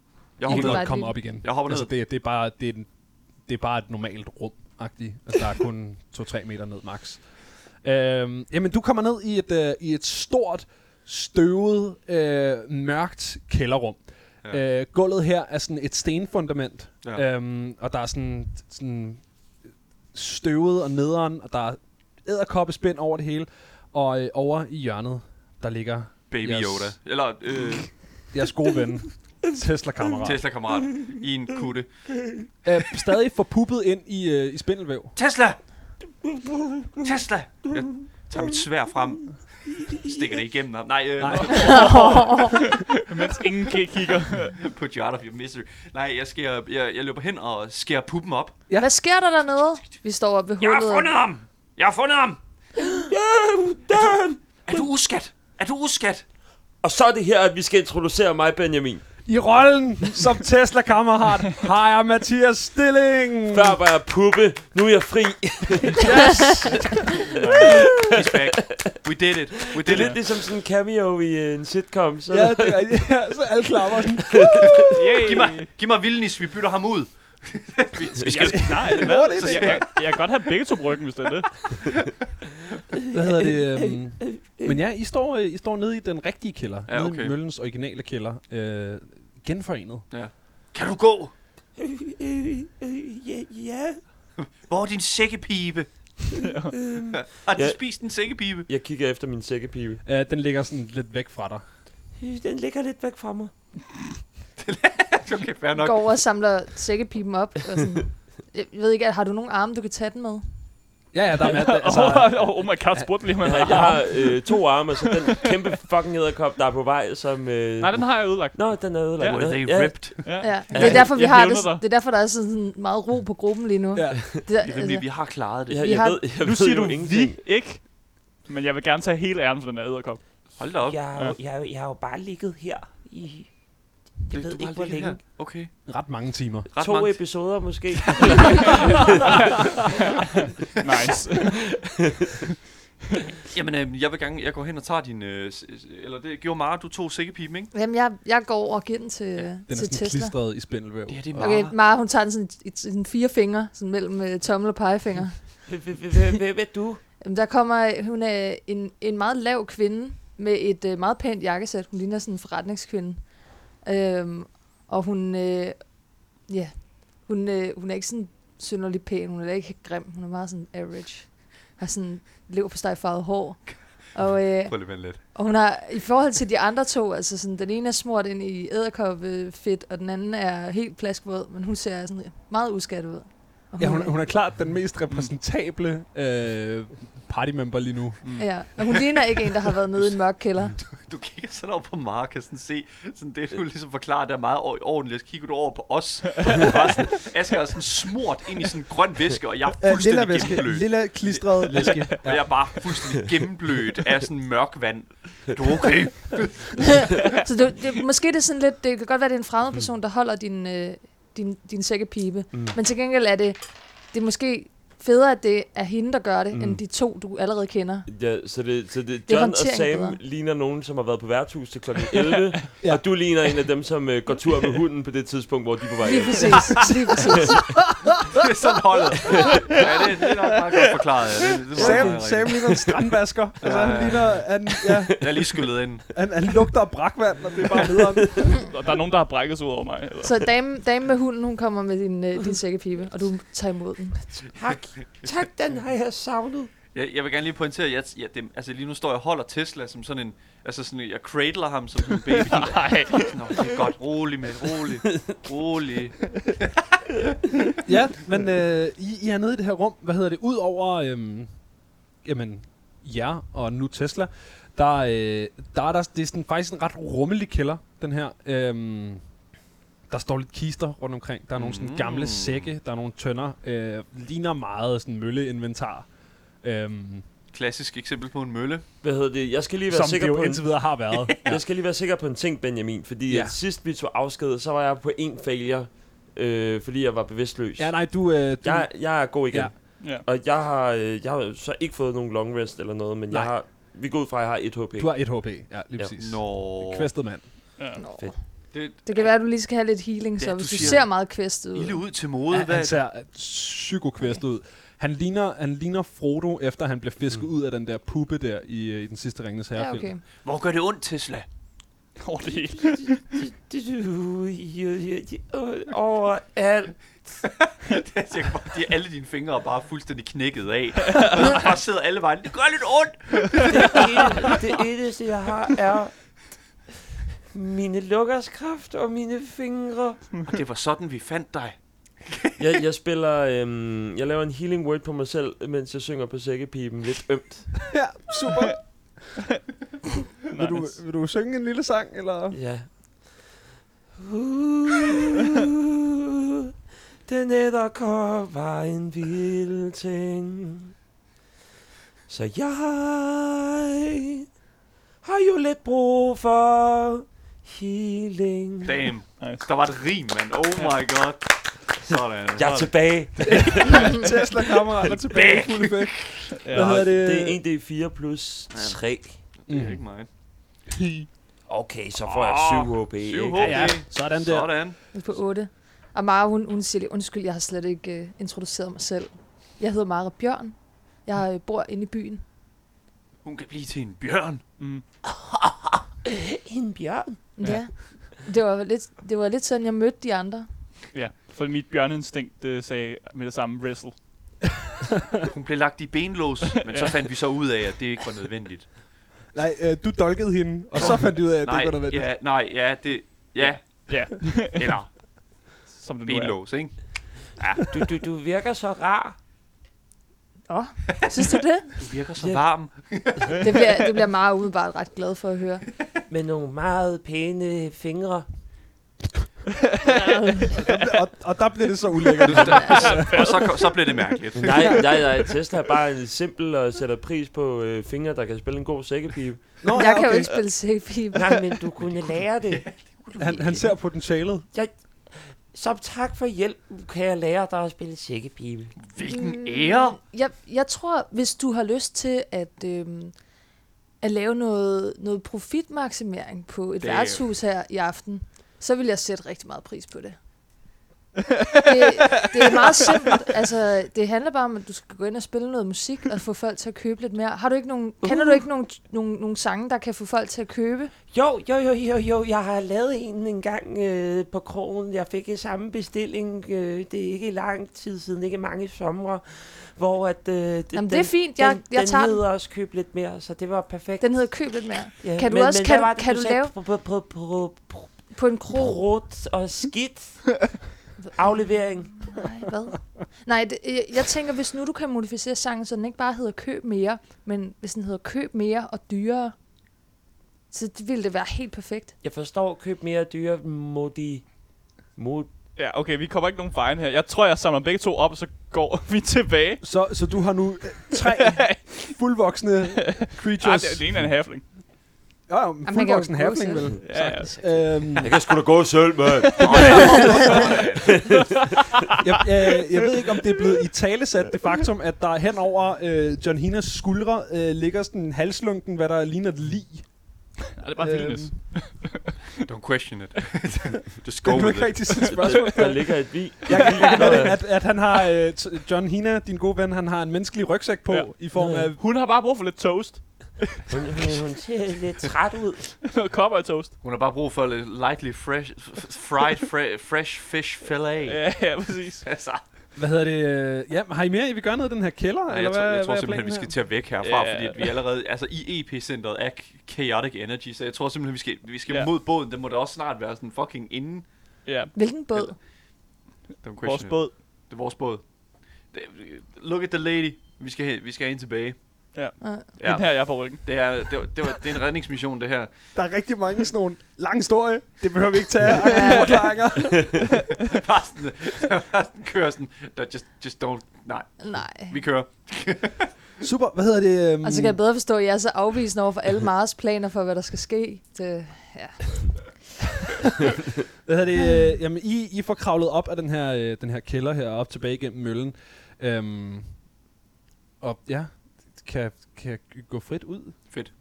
[SPEAKER 2] Jeg kan
[SPEAKER 8] kan
[SPEAKER 6] hopper
[SPEAKER 8] bare
[SPEAKER 2] godt komme
[SPEAKER 8] lige-
[SPEAKER 2] op igen.
[SPEAKER 6] Jeg hopper
[SPEAKER 2] altså,
[SPEAKER 6] ned.
[SPEAKER 2] det, det, er bare, det, er, en- det er bare et normalt rum -agtigt. Altså, der er kun 2-3 meter ned max. Øhm, jamen, du kommer ned i et, øh, i et stort, støvet, øh, mørkt kælderrum. Ja. Øh, gulvet her er sådan et stenfundament, ja.
[SPEAKER 6] Ja.
[SPEAKER 2] øhm, og der er sådan, sådan støvet og nederen, og der er æderkoppespind over det hele. Og øh, over i hjørnet, der ligger
[SPEAKER 6] Baby
[SPEAKER 2] jeres,
[SPEAKER 6] Yoda. Eller øh,
[SPEAKER 2] jeres gode ven, Tesla-kammerat.
[SPEAKER 6] Tesla-kammerat i en kutte.
[SPEAKER 2] øh, stadig forpuppet ind i, øh, i spindelvæv.
[SPEAKER 6] Tesla! Tesla! Jeg tager mit svær frem. Stikker det igennem ham. Nej, øh,
[SPEAKER 2] Nej.
[SPEAKER 6] Nej.
[SPEAKER 5] Mens
[SPEAKER 8] Mm.
[SPEAKER 5] ingen k- kigger.
[SPEAKER 6] put you out of your misery. Nej, jeg, skærer, jeg, jeg løber hen og skærer puppen op.
[SPEAKER 8] Ja. Hvad sker der dernede? Vi står oppe ved
[SPEAKER 6] Jeg har
[SPEAKER 8] hullet.
[SPEAKER 6] fundet ham! Jeg har fundet ham! Er du uskat? Er du uskat?
[SPEAKER 9] Og så er det her, at vi skal introducere mig, Benjamin.
[SPEAKER 2] I rollen som Tesla-kammerat har jeg Mathias Stilling.
[SPEAKER 9] Før var jeg puppe, nu er jeg fri.
[SPEAKER 6] He's back. We did it. We
[SPEAKER 9] Det
[SPEAKER 6] did
[SPEAKER 9] er lidt
[SPEAKER 6] it.
[SPEAKER 9] ligesom sådan en cameo i øh, en sitcom. Så.
[SPEAKER 2] Ja, det er rigtigt. Ja, så alle klapper sådan.
[SPEAKER 6] Giv mig, giv mig vildnis, vi bytter ham ud. vi, vi skal,
[SPEAKER 5] Nej, hvad? Så jeg, jeg, jeg kan godt have begge to på ryggen, hvis det er det.
[SPEAKER 2] Hvad hedder det? øhm, Men ja, I står, øh, I står nede i den rigtige kælder.
[SPEAKER 6] Ja,
[SPEAKER 2] Nede
[SPEAKER 6] okay.
[SPEAKER 2] i Møllens originale kælder. Øh, genforenet.
[SPEAKER 6] kan du gå?
[SPEAKER 9] ja, ja.
[SPEAKER 6] Hvor er din sækkepibe? Har du
[SPEAKER 9] Ja.
[SPEAKER 6] spist en sækkepibe?
[SPEAKER 9] Jeg kigger efter min sækkepibe.
[SPEAKER 2] Øh, den ligger sådan lidt væk fra dig.
[SPEAKER 9] Den ligger lidt væk fra mig.
[SPEAKER 6] Okay, fair
[SPEAKER 8] Går over og samler sækkepipen op. Og sådan. Jeg ved ikke, har du nogen arme, du kan tage den med?
[SPEAKER 2] Ja, ja, der er med. Altså,
[SPEAKER 5] Altså, oh, oh my god, spurgte lige, om jeg
[SPEAKER 9] Jeg har øh, to arme, og så den kæmpe fucking æderkop, der er på vej, som... Øh...
[SPEAKER 5] Nej, den har jeg ødelagt.
[SPEAKER 9] Nå, den er ødelagt.
[SPEAKER 6] Were they
[SPEAKER 9] Ja,
[SPEAKER 6] ripped?
[SPEAKER 8] Ja. Det
[SPEAKER 9] jeg-
[SPEAKER 8] er derfor, vi
[SPEAKER 5] jeg
[SPEAKER 8] har
[SPEAKER 5] hævner
[SPEAKER 8] det,
[SPEAKER 5] dig.
[SPEAKER 8] det er derfor, der er sådan meget ro på gruppen lige nu.
[SPEAKER 2] Ja.
[SPEAKER 8] Det der,
[SPEAKER 6] Det er nemlig, vi har klaret det.
[SPEAKER 9] Ja,
[SPEAKER 8] Vi
[SPEAKER 9] jeg
[SPEAKER 8] har-
[SPEAKER 9] ved, jeg
[SPEAKER 5] Nu
[SPEAKER 9] ved
[SPEAKER 5] siger
[SPEAKER 9] jo
[SPEAKER 5] du vi,
[SPEAKER 9] ingenting.
[SPEAKER 5] ikke? Men jeg vil gerne tage hele æren for den her æderkop.
[SPEAKER 6] Hold da op.
[SPEAKER 9] Jeg har, jo-
[SPEAKER 5] Ja.
[SPEAKER 9] jeg, har jo- jeg har jo bare ligget her i... Jeg
[SPEAKER 6] Det-
[SPEAKER 9] ved
[SPEAKER 6] du
[SPEAKER 9] ikke,
[SPEAKER 6] har
[SPEAKER 9] hvor
[SPEAKER 6] ligget her.
[SPEAKER 9] længe.
[SPEAKER 6] Okay.
[SPEAKER 2] ret mange timer.
[SPEAKER 6] Ret
[SPEAKER 9] To
[SPEAKER 6] mange-
[SPEAKER 9] episoder måske.
[SPEAKER 5] Nice.
[SPEAKER 6] Jamen, øh, jeg vil gerne, jeg går hen og tager din, øh, s- s- eller det gjorde Mara, du tog sækkepiben, ikke?
[SPEAKER 8] altså, Jamen, jeg, jeg går over og giver den til,
[SPEAKER 2] Den er
[SPEAKER 8] til
[SPEAKER 2] sådan Ah.
[SPEAKER 8] Tesla.
[SPEAKER 2] klistret i spindelvæv.
[SPEAKER 6] Det her, det er
[SPEAKER 8] Okay,
[SPEAKER 6] Mara.
[SPEAKER 8] Mara, hun tager den sådan i, i sådan fire fingre, sådan mellem øh, tommel og pegefinger.
[SPEAKER 9] Hvem er du?
[SPEAKER 8] Jamen, der kommer, hun er en, en meget lav kvinde med et øh, meget pænt jakkesæt. Hun ligner sådan en forretningskvinde. Øhm, og hun, øh, ja, hun, øh, hun er ikke sådan synderlig pæn. Hun er heller ikke grim. Hun er meget sådan average. Har sådan lever på hår. Og, øh,
[SPEAKER 6] Prøv lige at vente lidt.
[SPEAKER 8] Og hun har, i forhold til de andre to, altså sådan, den ene er smurt ind i æderkoppefedt, og den anden er helt plaskvåd, men hun ser sådan meget uskattet ud. Og
[SPEAKER 2] Ja, hun, hun er klart den mest repræsentable øh, partymember lige nu.
[SPEAKER 5] Mm.
[SPEAKER 8] ja, og hun ligner ikke en, der har været nede i en mørk kælder.
[SPEAKER 6] Du kigger sådan over på Mara, kan sådan se, sådan det, du ligesom forklarer, der er meget or- ordentligt. Så kigger du over på os. Bare sådan, Asger er sådan smurt ind i sådan en grøn væske, og jeg er
[SPEAKER 2] Lilla
[SPEAKER 6] fuldstændig
[SPEAKER 2] væske.
[SPEAKER 6] gennemblødt.
[SPEAKER 2] Lilla klistret væske.
[SPEAKER 6] Og jeg er bare fuldstændig gennemblødt af sådan mørk vand. Du er okay.
[SPEAKER 8] Så det, det, måske det er sådan lidt, det kan godt være, det er en fremmed
[SPEAKER 2] Mm.
[SPEAKER 8] person, der holder din, øh, din, din sækkepibe, mm. men til gengæld er det, det er måske federe, at det er hende, der gør det, mm. end de to, du allerede kender.
[SPEAKER 9] Ja, så det, så det,
[SPEAKER 8] er
[SPEAKER 9] John og
[SPEAKER 8] håndtering
[SPEAKER 9] Sam
[SPEAKER 8] bedre.
[SPEAKER 9] ligner nogen, som har været på værtshus til kl. 11, ja. og du ligner en af dem, som øh, går tur med hunden på det tidspunkt, hvor de er på vej
[SPEAKER 8] Lige
[SPEAKER 9] hjem.
[SPEAKER 8] præcis. Lige præcis.
[SPEAKER 4] Det er sådan holdet. ja, det, det er nok meget godt forklaret. Ja. Det, det, det
[SPEAKER 2] Sam, Sam ligner en strandvasker. Altså, han ligner... Han, ja,
[SPEAKER 4] Jeg er lige skyllet ind.
[SPEAKER 2] han, han lugter af brakvand, og det er bare nederen.
[SPEAKER 5] Og der er nogen, der har brækket sig ud over mig. Eller?
[SPEAKER 8] Så dame, dame med hunden, hun kommer med din, øh, din sækkepibe, og du tager imod den.
[SPEAKER 4] Jeg, jeg vil gerne lige pointere, at jeg, ja, det, altså lige nu står jeg og holder Tesla som sådan en... Altså sådan, en- jeg cradler ham som sådan en baby.
[SPEAKER 5] Nej.
[SPEAKER 4] Nå, det er godt. Rolig med, rolig, rolig.
[SPEAKER 2] Ja, men øh, I, I er nede i det her rum. Hvad hedder det? Udover øhm, jamen, jer og nu Tesla, der, øh, der er der, det er sådan, faktisk en ret rummelig kælder, den her. Øhm, der står lidt kister rundt omkring. Der er nogle sådan gamle sække, der er nogle tønder. Øh, ligner meget sådan mølleinventar. Øhm,
[SPEAKER 4] Klassisk eksempel på en mølle.
[SPEAKER 9] Hvad hedder det? Jeg skal lige være
[SPEAKER 2] som det
[SPEAKER 9] sikker på
[SPEAKER 2] jo
[SPEAKER 9] en-
[SPEAKER 2] indtil videre har været.
[SPEAKER 9] Jeg skal lige være sikker på en ting, Benjamin, fordi
[SPEAKER 2] Ja.
[SPEAKER 9] ja. sidst vi tog afsked, så var jeg på en failure, øh, fordi jeg var bevidstløs.
[SPEAKER 2] ja, nej, du... Øh, du
[SPEAKER 9] jeg, jeg er god igen.
[SPEAKER 2] Ja.
[SPEAKER 5] Ja.
[SPEAKER 9] Og jeg har, øh, jeg har jo så ikke fået nogen long rest eller noget, men
[SPEAKER 2] Nej.
[SPEAKER 9] jeg har, vi går ud fra, at jeg har 1 HP.
[SPEAKER 2] Du har 1 HP, ja, lige
[SPEAKER 9] Ja.
[SPEAKER 2] præcis.
[SPEAKER 4] Nå.
[SPEAKER 2] Kvæstet mand.
[SPEAKER 8] Nå.
[SPEAKER 9] Fedt.
[SPEAKER 4] Det-
[SPEAKER 8] Det kan være, at du lige skal have lidt healing, så
[SPEAKER 4] Ja,
[SPEAKER 8] ja,
[SPEAKER 4] du
[SPEAKER 8] hvis du
[SPEAKER 4] siger-
[SPEAKER 8] ser meget kvæstet ud.
[SPEAKER 4] Ilde ud til mode.
[SPEAKER 2] Ja,
[SPEAKER 4] Hvad?
[SPEAKER 2] han ser psykokvæstet ud. Han ligner, han ligner Frodo, efter han blev fisket mm. ud af den der puppe der i, øh, i den sidste Ringens
[SPEAKER 8] Ja,
[SPEAKER 2] Herrefilm.
[SPEAKER 8] okay.
[SPEAKER 4] Hvor gør det ondt, Tesla?
[SPEAKER 5] Over det hele.
[SPEAKER 9] Over alt.
[SPEAKER 4] Altså, jeg kan bare- de, alle dine fingre er bare fuldstændig knækket af. Og så bare sidder alle vejen. Det gør lidt ondt.
[SPEAKER 9] Det eneste, jeg har, er mine lukkers kraft og mine fingre.
[SPEAKER 4] Og det var sådan, vi fandt dig.
[SPEAKER 9] Jeg, jeg spiller, øhm, jeg laver en healing word på mig selv, mens jeg synger på sækkepipen lidt ømt.
[SPEAKER 2] Ja, super.
[SPEAKER 5] Vil du-
[SPEAKER 2] vil du synge en lille sang, eller?
[SPEAKER 9] Ja. Uh, den æderkop var en vild ting. Så jeg har jo lidt brug for healing.
[SPEAKER 4] Damn.
[SPEAKER 5] Nice.
[SPEAKER 4] Der var et rim, mand. Oh my god. Sådan.
[SPEAKER 9] Jeg er tilbage.
[SPEAKER 2] Tesla kammerater tilbage i fuld effekt. Hvad
[SPEAKER 5] Ja.
[SPEAKER 2] hedder det? Mm.
[SPEAKER 9] Det er 1d4 plus 3.
[SPEAKER 4] Det er ikke mig.
[SPEAKER 9] Okay, så får jeg 7 HP.
[SPEAKER 4] 7
[SPEAKER 9] ikke?
[SPEAKER 4] HP. Ja,
[SPEAKER 2] Sådan der.
[SPEAKER 4] Sådan.
[SPEAKER 8] Vi er på 8. Og Mara, hun, hun siger lige, undskyld, jeg har slet ikke uh, introduceret mig selv. Jeg hedder Mara Bjørn. Jeg øh, bor inde i byen.
[SPEAKER 4] Hun kan blive til en bjørn.
[SPEAKER 9] En bjørn.
[SPEAKER 8] Ja. ja. Det, var lidt, det var lidt sådan, jeg mødte de andre.
[SPEAKER 5] ja. For mit bjørneinstinkt øh, sagde med det samme wrestle.
[SPEAKER 4] Hun blev lagt i benlås, men så fandt vi så ud af, at det ikke var nødvendigt.
[SPEAKER 2] Nej, øh, du dolkede hende, og så fandt du ud af, at det
[SPEAKER 4] Nej,
[SPEAKER 2] ikke var nødvendigt.
[SPEAKER 4] ja, nej, ja, det... Ja,
[SPEAKER 5] Ja,
[SPEAKER 4] eller
[SPEAKER 5] som det nu er.
[SPEAKER 4] benlås, ikke?
[SPEAKER 9] Du, du, du virker så rar.
[SPEAKER 8] Åh, synes du det?
[SPEAKER 4] Du virker så
[SPEAKER 9] Ja.
[SPEAKER 4] varm.
[SPEAKER 8] Det bliver, det bliver Mara umiddelbart ret glad for at høre.
[SPEAKER 9] Med nogle meget pæne fingre.
[SPEAKER 2] Og, og der blev det så ulækkert.
[SPEAKER 4] Og så, så blev det mærkeligt.
[SPEAKER 9] Nej, nej, nej. Tesla er bare en simpel og sætter pris på øh, fingre, der kan spille en god sækkepipe.
[SPEAKER 2] Nå,
[SPEAKER 8] Jeg kan jo ikke spille sækkepibe.
[SPEAKER 9] Nej, men du kunne lære det.
[SPEAKER 2] Han, han ser potentialet.
[SPEAKER 9] Som tak for hjælp kan jeg lære dig at spille sækkepipe.
[SPEAKER 4] Hvilken ære.
[SPEAKER 8] Mm, Jeg, jeg tror, hvis du har lyst til at, øhm, at lave noget, noget profitmaksimering på et
[SPEAKER 4] Damn.
[SPEAKER 8] værtshus her i aften, så vil jeg sætte rigtig meget pris på det. det. Det er meget simpelt. Altså, det handler bare om, at du skal gå ind og spille noget musik og få folk til at købe lidt mere. Har du ikke nogen, Kender du
[SPEAKER 9] Uh.
[SPEAKER 8] ikke nogen, nogen, nogen sange, der kan få folk til at købe?
[SPEAKER 9] Jo, jo, jo, jo, jo. Jeg har lavet en engang øh, på krogen. Jeg fik øh, samme bestilling. Øh, det er ikke lang tid siden, ikke mange somre. Hvor at... Øh, Jamen,
[SPEAKER 8] Jamen, det er fint. Jeg- jeg
[SPEAKER 9] den
[SPEAKER 8] tager den.
[SPEAKER 9] hedder også køb lidt mere, så det var perfekt.
[SPEAKER 8] Den hedder Køb lidt mere.
[SPEAKER 9] Ja,
[SPEAKER 8] kan du
[SPEAKER 9] men-
[SPEAKER 8] også-
[SPEAKER 9] men
[SPEAKER 8] kan
[SPEAKER 9] hvad
[SPEAKER 8] du-
[SPEAKER 9] var det,
[SPEAKER 8] kan du
[SPEAKER 9] sagde?
[SPEAKER 8] lave-
[SPEAKER 9] Pro- pro- pro- pro-
[SPEAKER 8] På en kro.
[SPEAKER 9] Brot og skidt. Aflevering.
[SPEAKER 8] Nej, hvad? Nej, det, jeg, jeg tænker, hvis nu du kan modificere sangen, så den ikke bare hedder Køb mere, men hvis den hedder Køb mere og dyrere, så det ville det være helt perfekt.
[SPEAKER 9] Jeg forstår, køb mere dyre modi... Mod...
[SPEAKER 5] Ja, okay, vi kommer ikke nogen vejen her. Jeg tror, jeg samler begge to op, og så går vi tilbage.
[SPEAKER 2] Så, så du har nu øh, tre fuldvoksne
[SPEAKER 5] Nej,
[SPEAKER 2] creatures.
[SPEAKER 5] det, det ene er en halfling.
[SPEAKER 2] Ja, jo, men
[SPEAKER 8] kan jo
[SPEAKER 2] fuldvoksen
[SPEAKER 8] gå
[SPEAKER 2] halfling,
[SPEAKER 8] selv.
[SPEAKER 2] vel?
[SPEAKER 5] Ja, ja.
[SPEAKER 2] Øhm,
[SPEAKER 9] Jeg kan sgu da gå selv, mand.
[SPEAKER 2] jeg, jeg, jeg ved ikke, om det er blevet i talesat, det faktum, at der hen over øh, John Hinas skuldre øh, ligger sådan en halslunken, hvad der ligner et lig.
[SPEAKER 10] Ja, det er bare
[SPEAKER 2] Øhm,
[SPEAKER 10] vildnæs.
[SPEAKER 6] Don't question it. Just go
[SPEAKER 2] Det kan du
[SPEAKER 6] with
[SPEAKER 2] ikke
[SPEAKER 6] it.
[SPEAKER 2] rigtig sige spørgsmål.
[SPEAKER 11] Der ligger et vi.
[SPEAKER 2] Jeg kan, jeg kan ved, at, at han har, øh, t- John Hina, din gode ven, han har en menneskelig rygsæk på,
[SPEAKER 5] Ja.
[SPEAKER 2] ja. i form af...
[SPEAKER 5] Øhm, Hun har bare brug for lidt toast.
[SPEAKER 9] Hun, hun, hun ser lidt træt ud.
[SPEAKER 5] Noget cowboy toast.
[SPEAKER 6] Hun har bare brug for lidt lightly fresh, f- fried fre- fresh fish fillet.
[SPEAKER 5] Ja, ja, præcis.
[SPEAKER 6] Altså,
[SPEAKER 2] Hvad hedder det? øh, Ja, har I mere, I vil gøre noget i den her kælder?
[SPEAKER 6] nej,
[SPEAKER 2] eller
[SPEAKER 6] jeg,
[SPEAKER 2] hvad,
[SPEAKER 6] tror, jeg tror
[SPEAKER 2] hvad er
[SPEAKER 6] simpelthen,
[SPEAKER 2] planen
[SPEAKER 6] vi skal
[SPEAKER 2] her?
[SPEAKER 6] til at væk herfra,
[SPEAKER 5] Ja.
[SPEAKER 6] fordi at vi allerede... Altså, i EP-centret er chaotic energy, så jeg tror simpelthen, vi skal, vi skal
[SPEAKER 5] Ja.
[SPEAKER 6] mod båden. Det må da også snart være sådan fucking inden.
[SPEAKER 5] Ja,
[SPEAKER 8] Hvilken båd?
[SPEAKER 6] Don't question
[SPEAKER 5] vores
[SPEAKER 6] it.
[SPEAKER 5] båd.
[SPEAKER 6] Det er vores båd. Det- Look at the lady. Vi skal hen, vi skal hen tilbage.
[SPEAKER 5] Ja.
[SPEAKER 6] Ja.
[SPEAKER 5] Den her, jeg er på ryggen.
[SPEAKER 6] Det er, det, var, det, var, det er en redningsmission, det her.
[SPEAKER 2] Der er rigtig mange sådan nogle lang historie. Det behøver vi ikke tage af forklaringer.
[SPEAKER 6] Bare sådan, bare sådan kører sådan, der just, just don't, nej,
[SPEAKER 8] Nej.
[SPEAKER 6] vi kører.
[SPEAKER 2] Super, hvad hedder det? øhm,
[SPEAKER 8] Og så kan jeg bedre forstå, at jeg er så afvisende over for alle Mars planer for, hvad der skal ske. Det, ja.
[SPEAKER 2] Hvad hedder det? Øh, jamen, I, I får kravlet op af den her, øh, den her kælder her, op tilbage gennem møllen. Øhm, og ja, kan, kan I gå frit ud?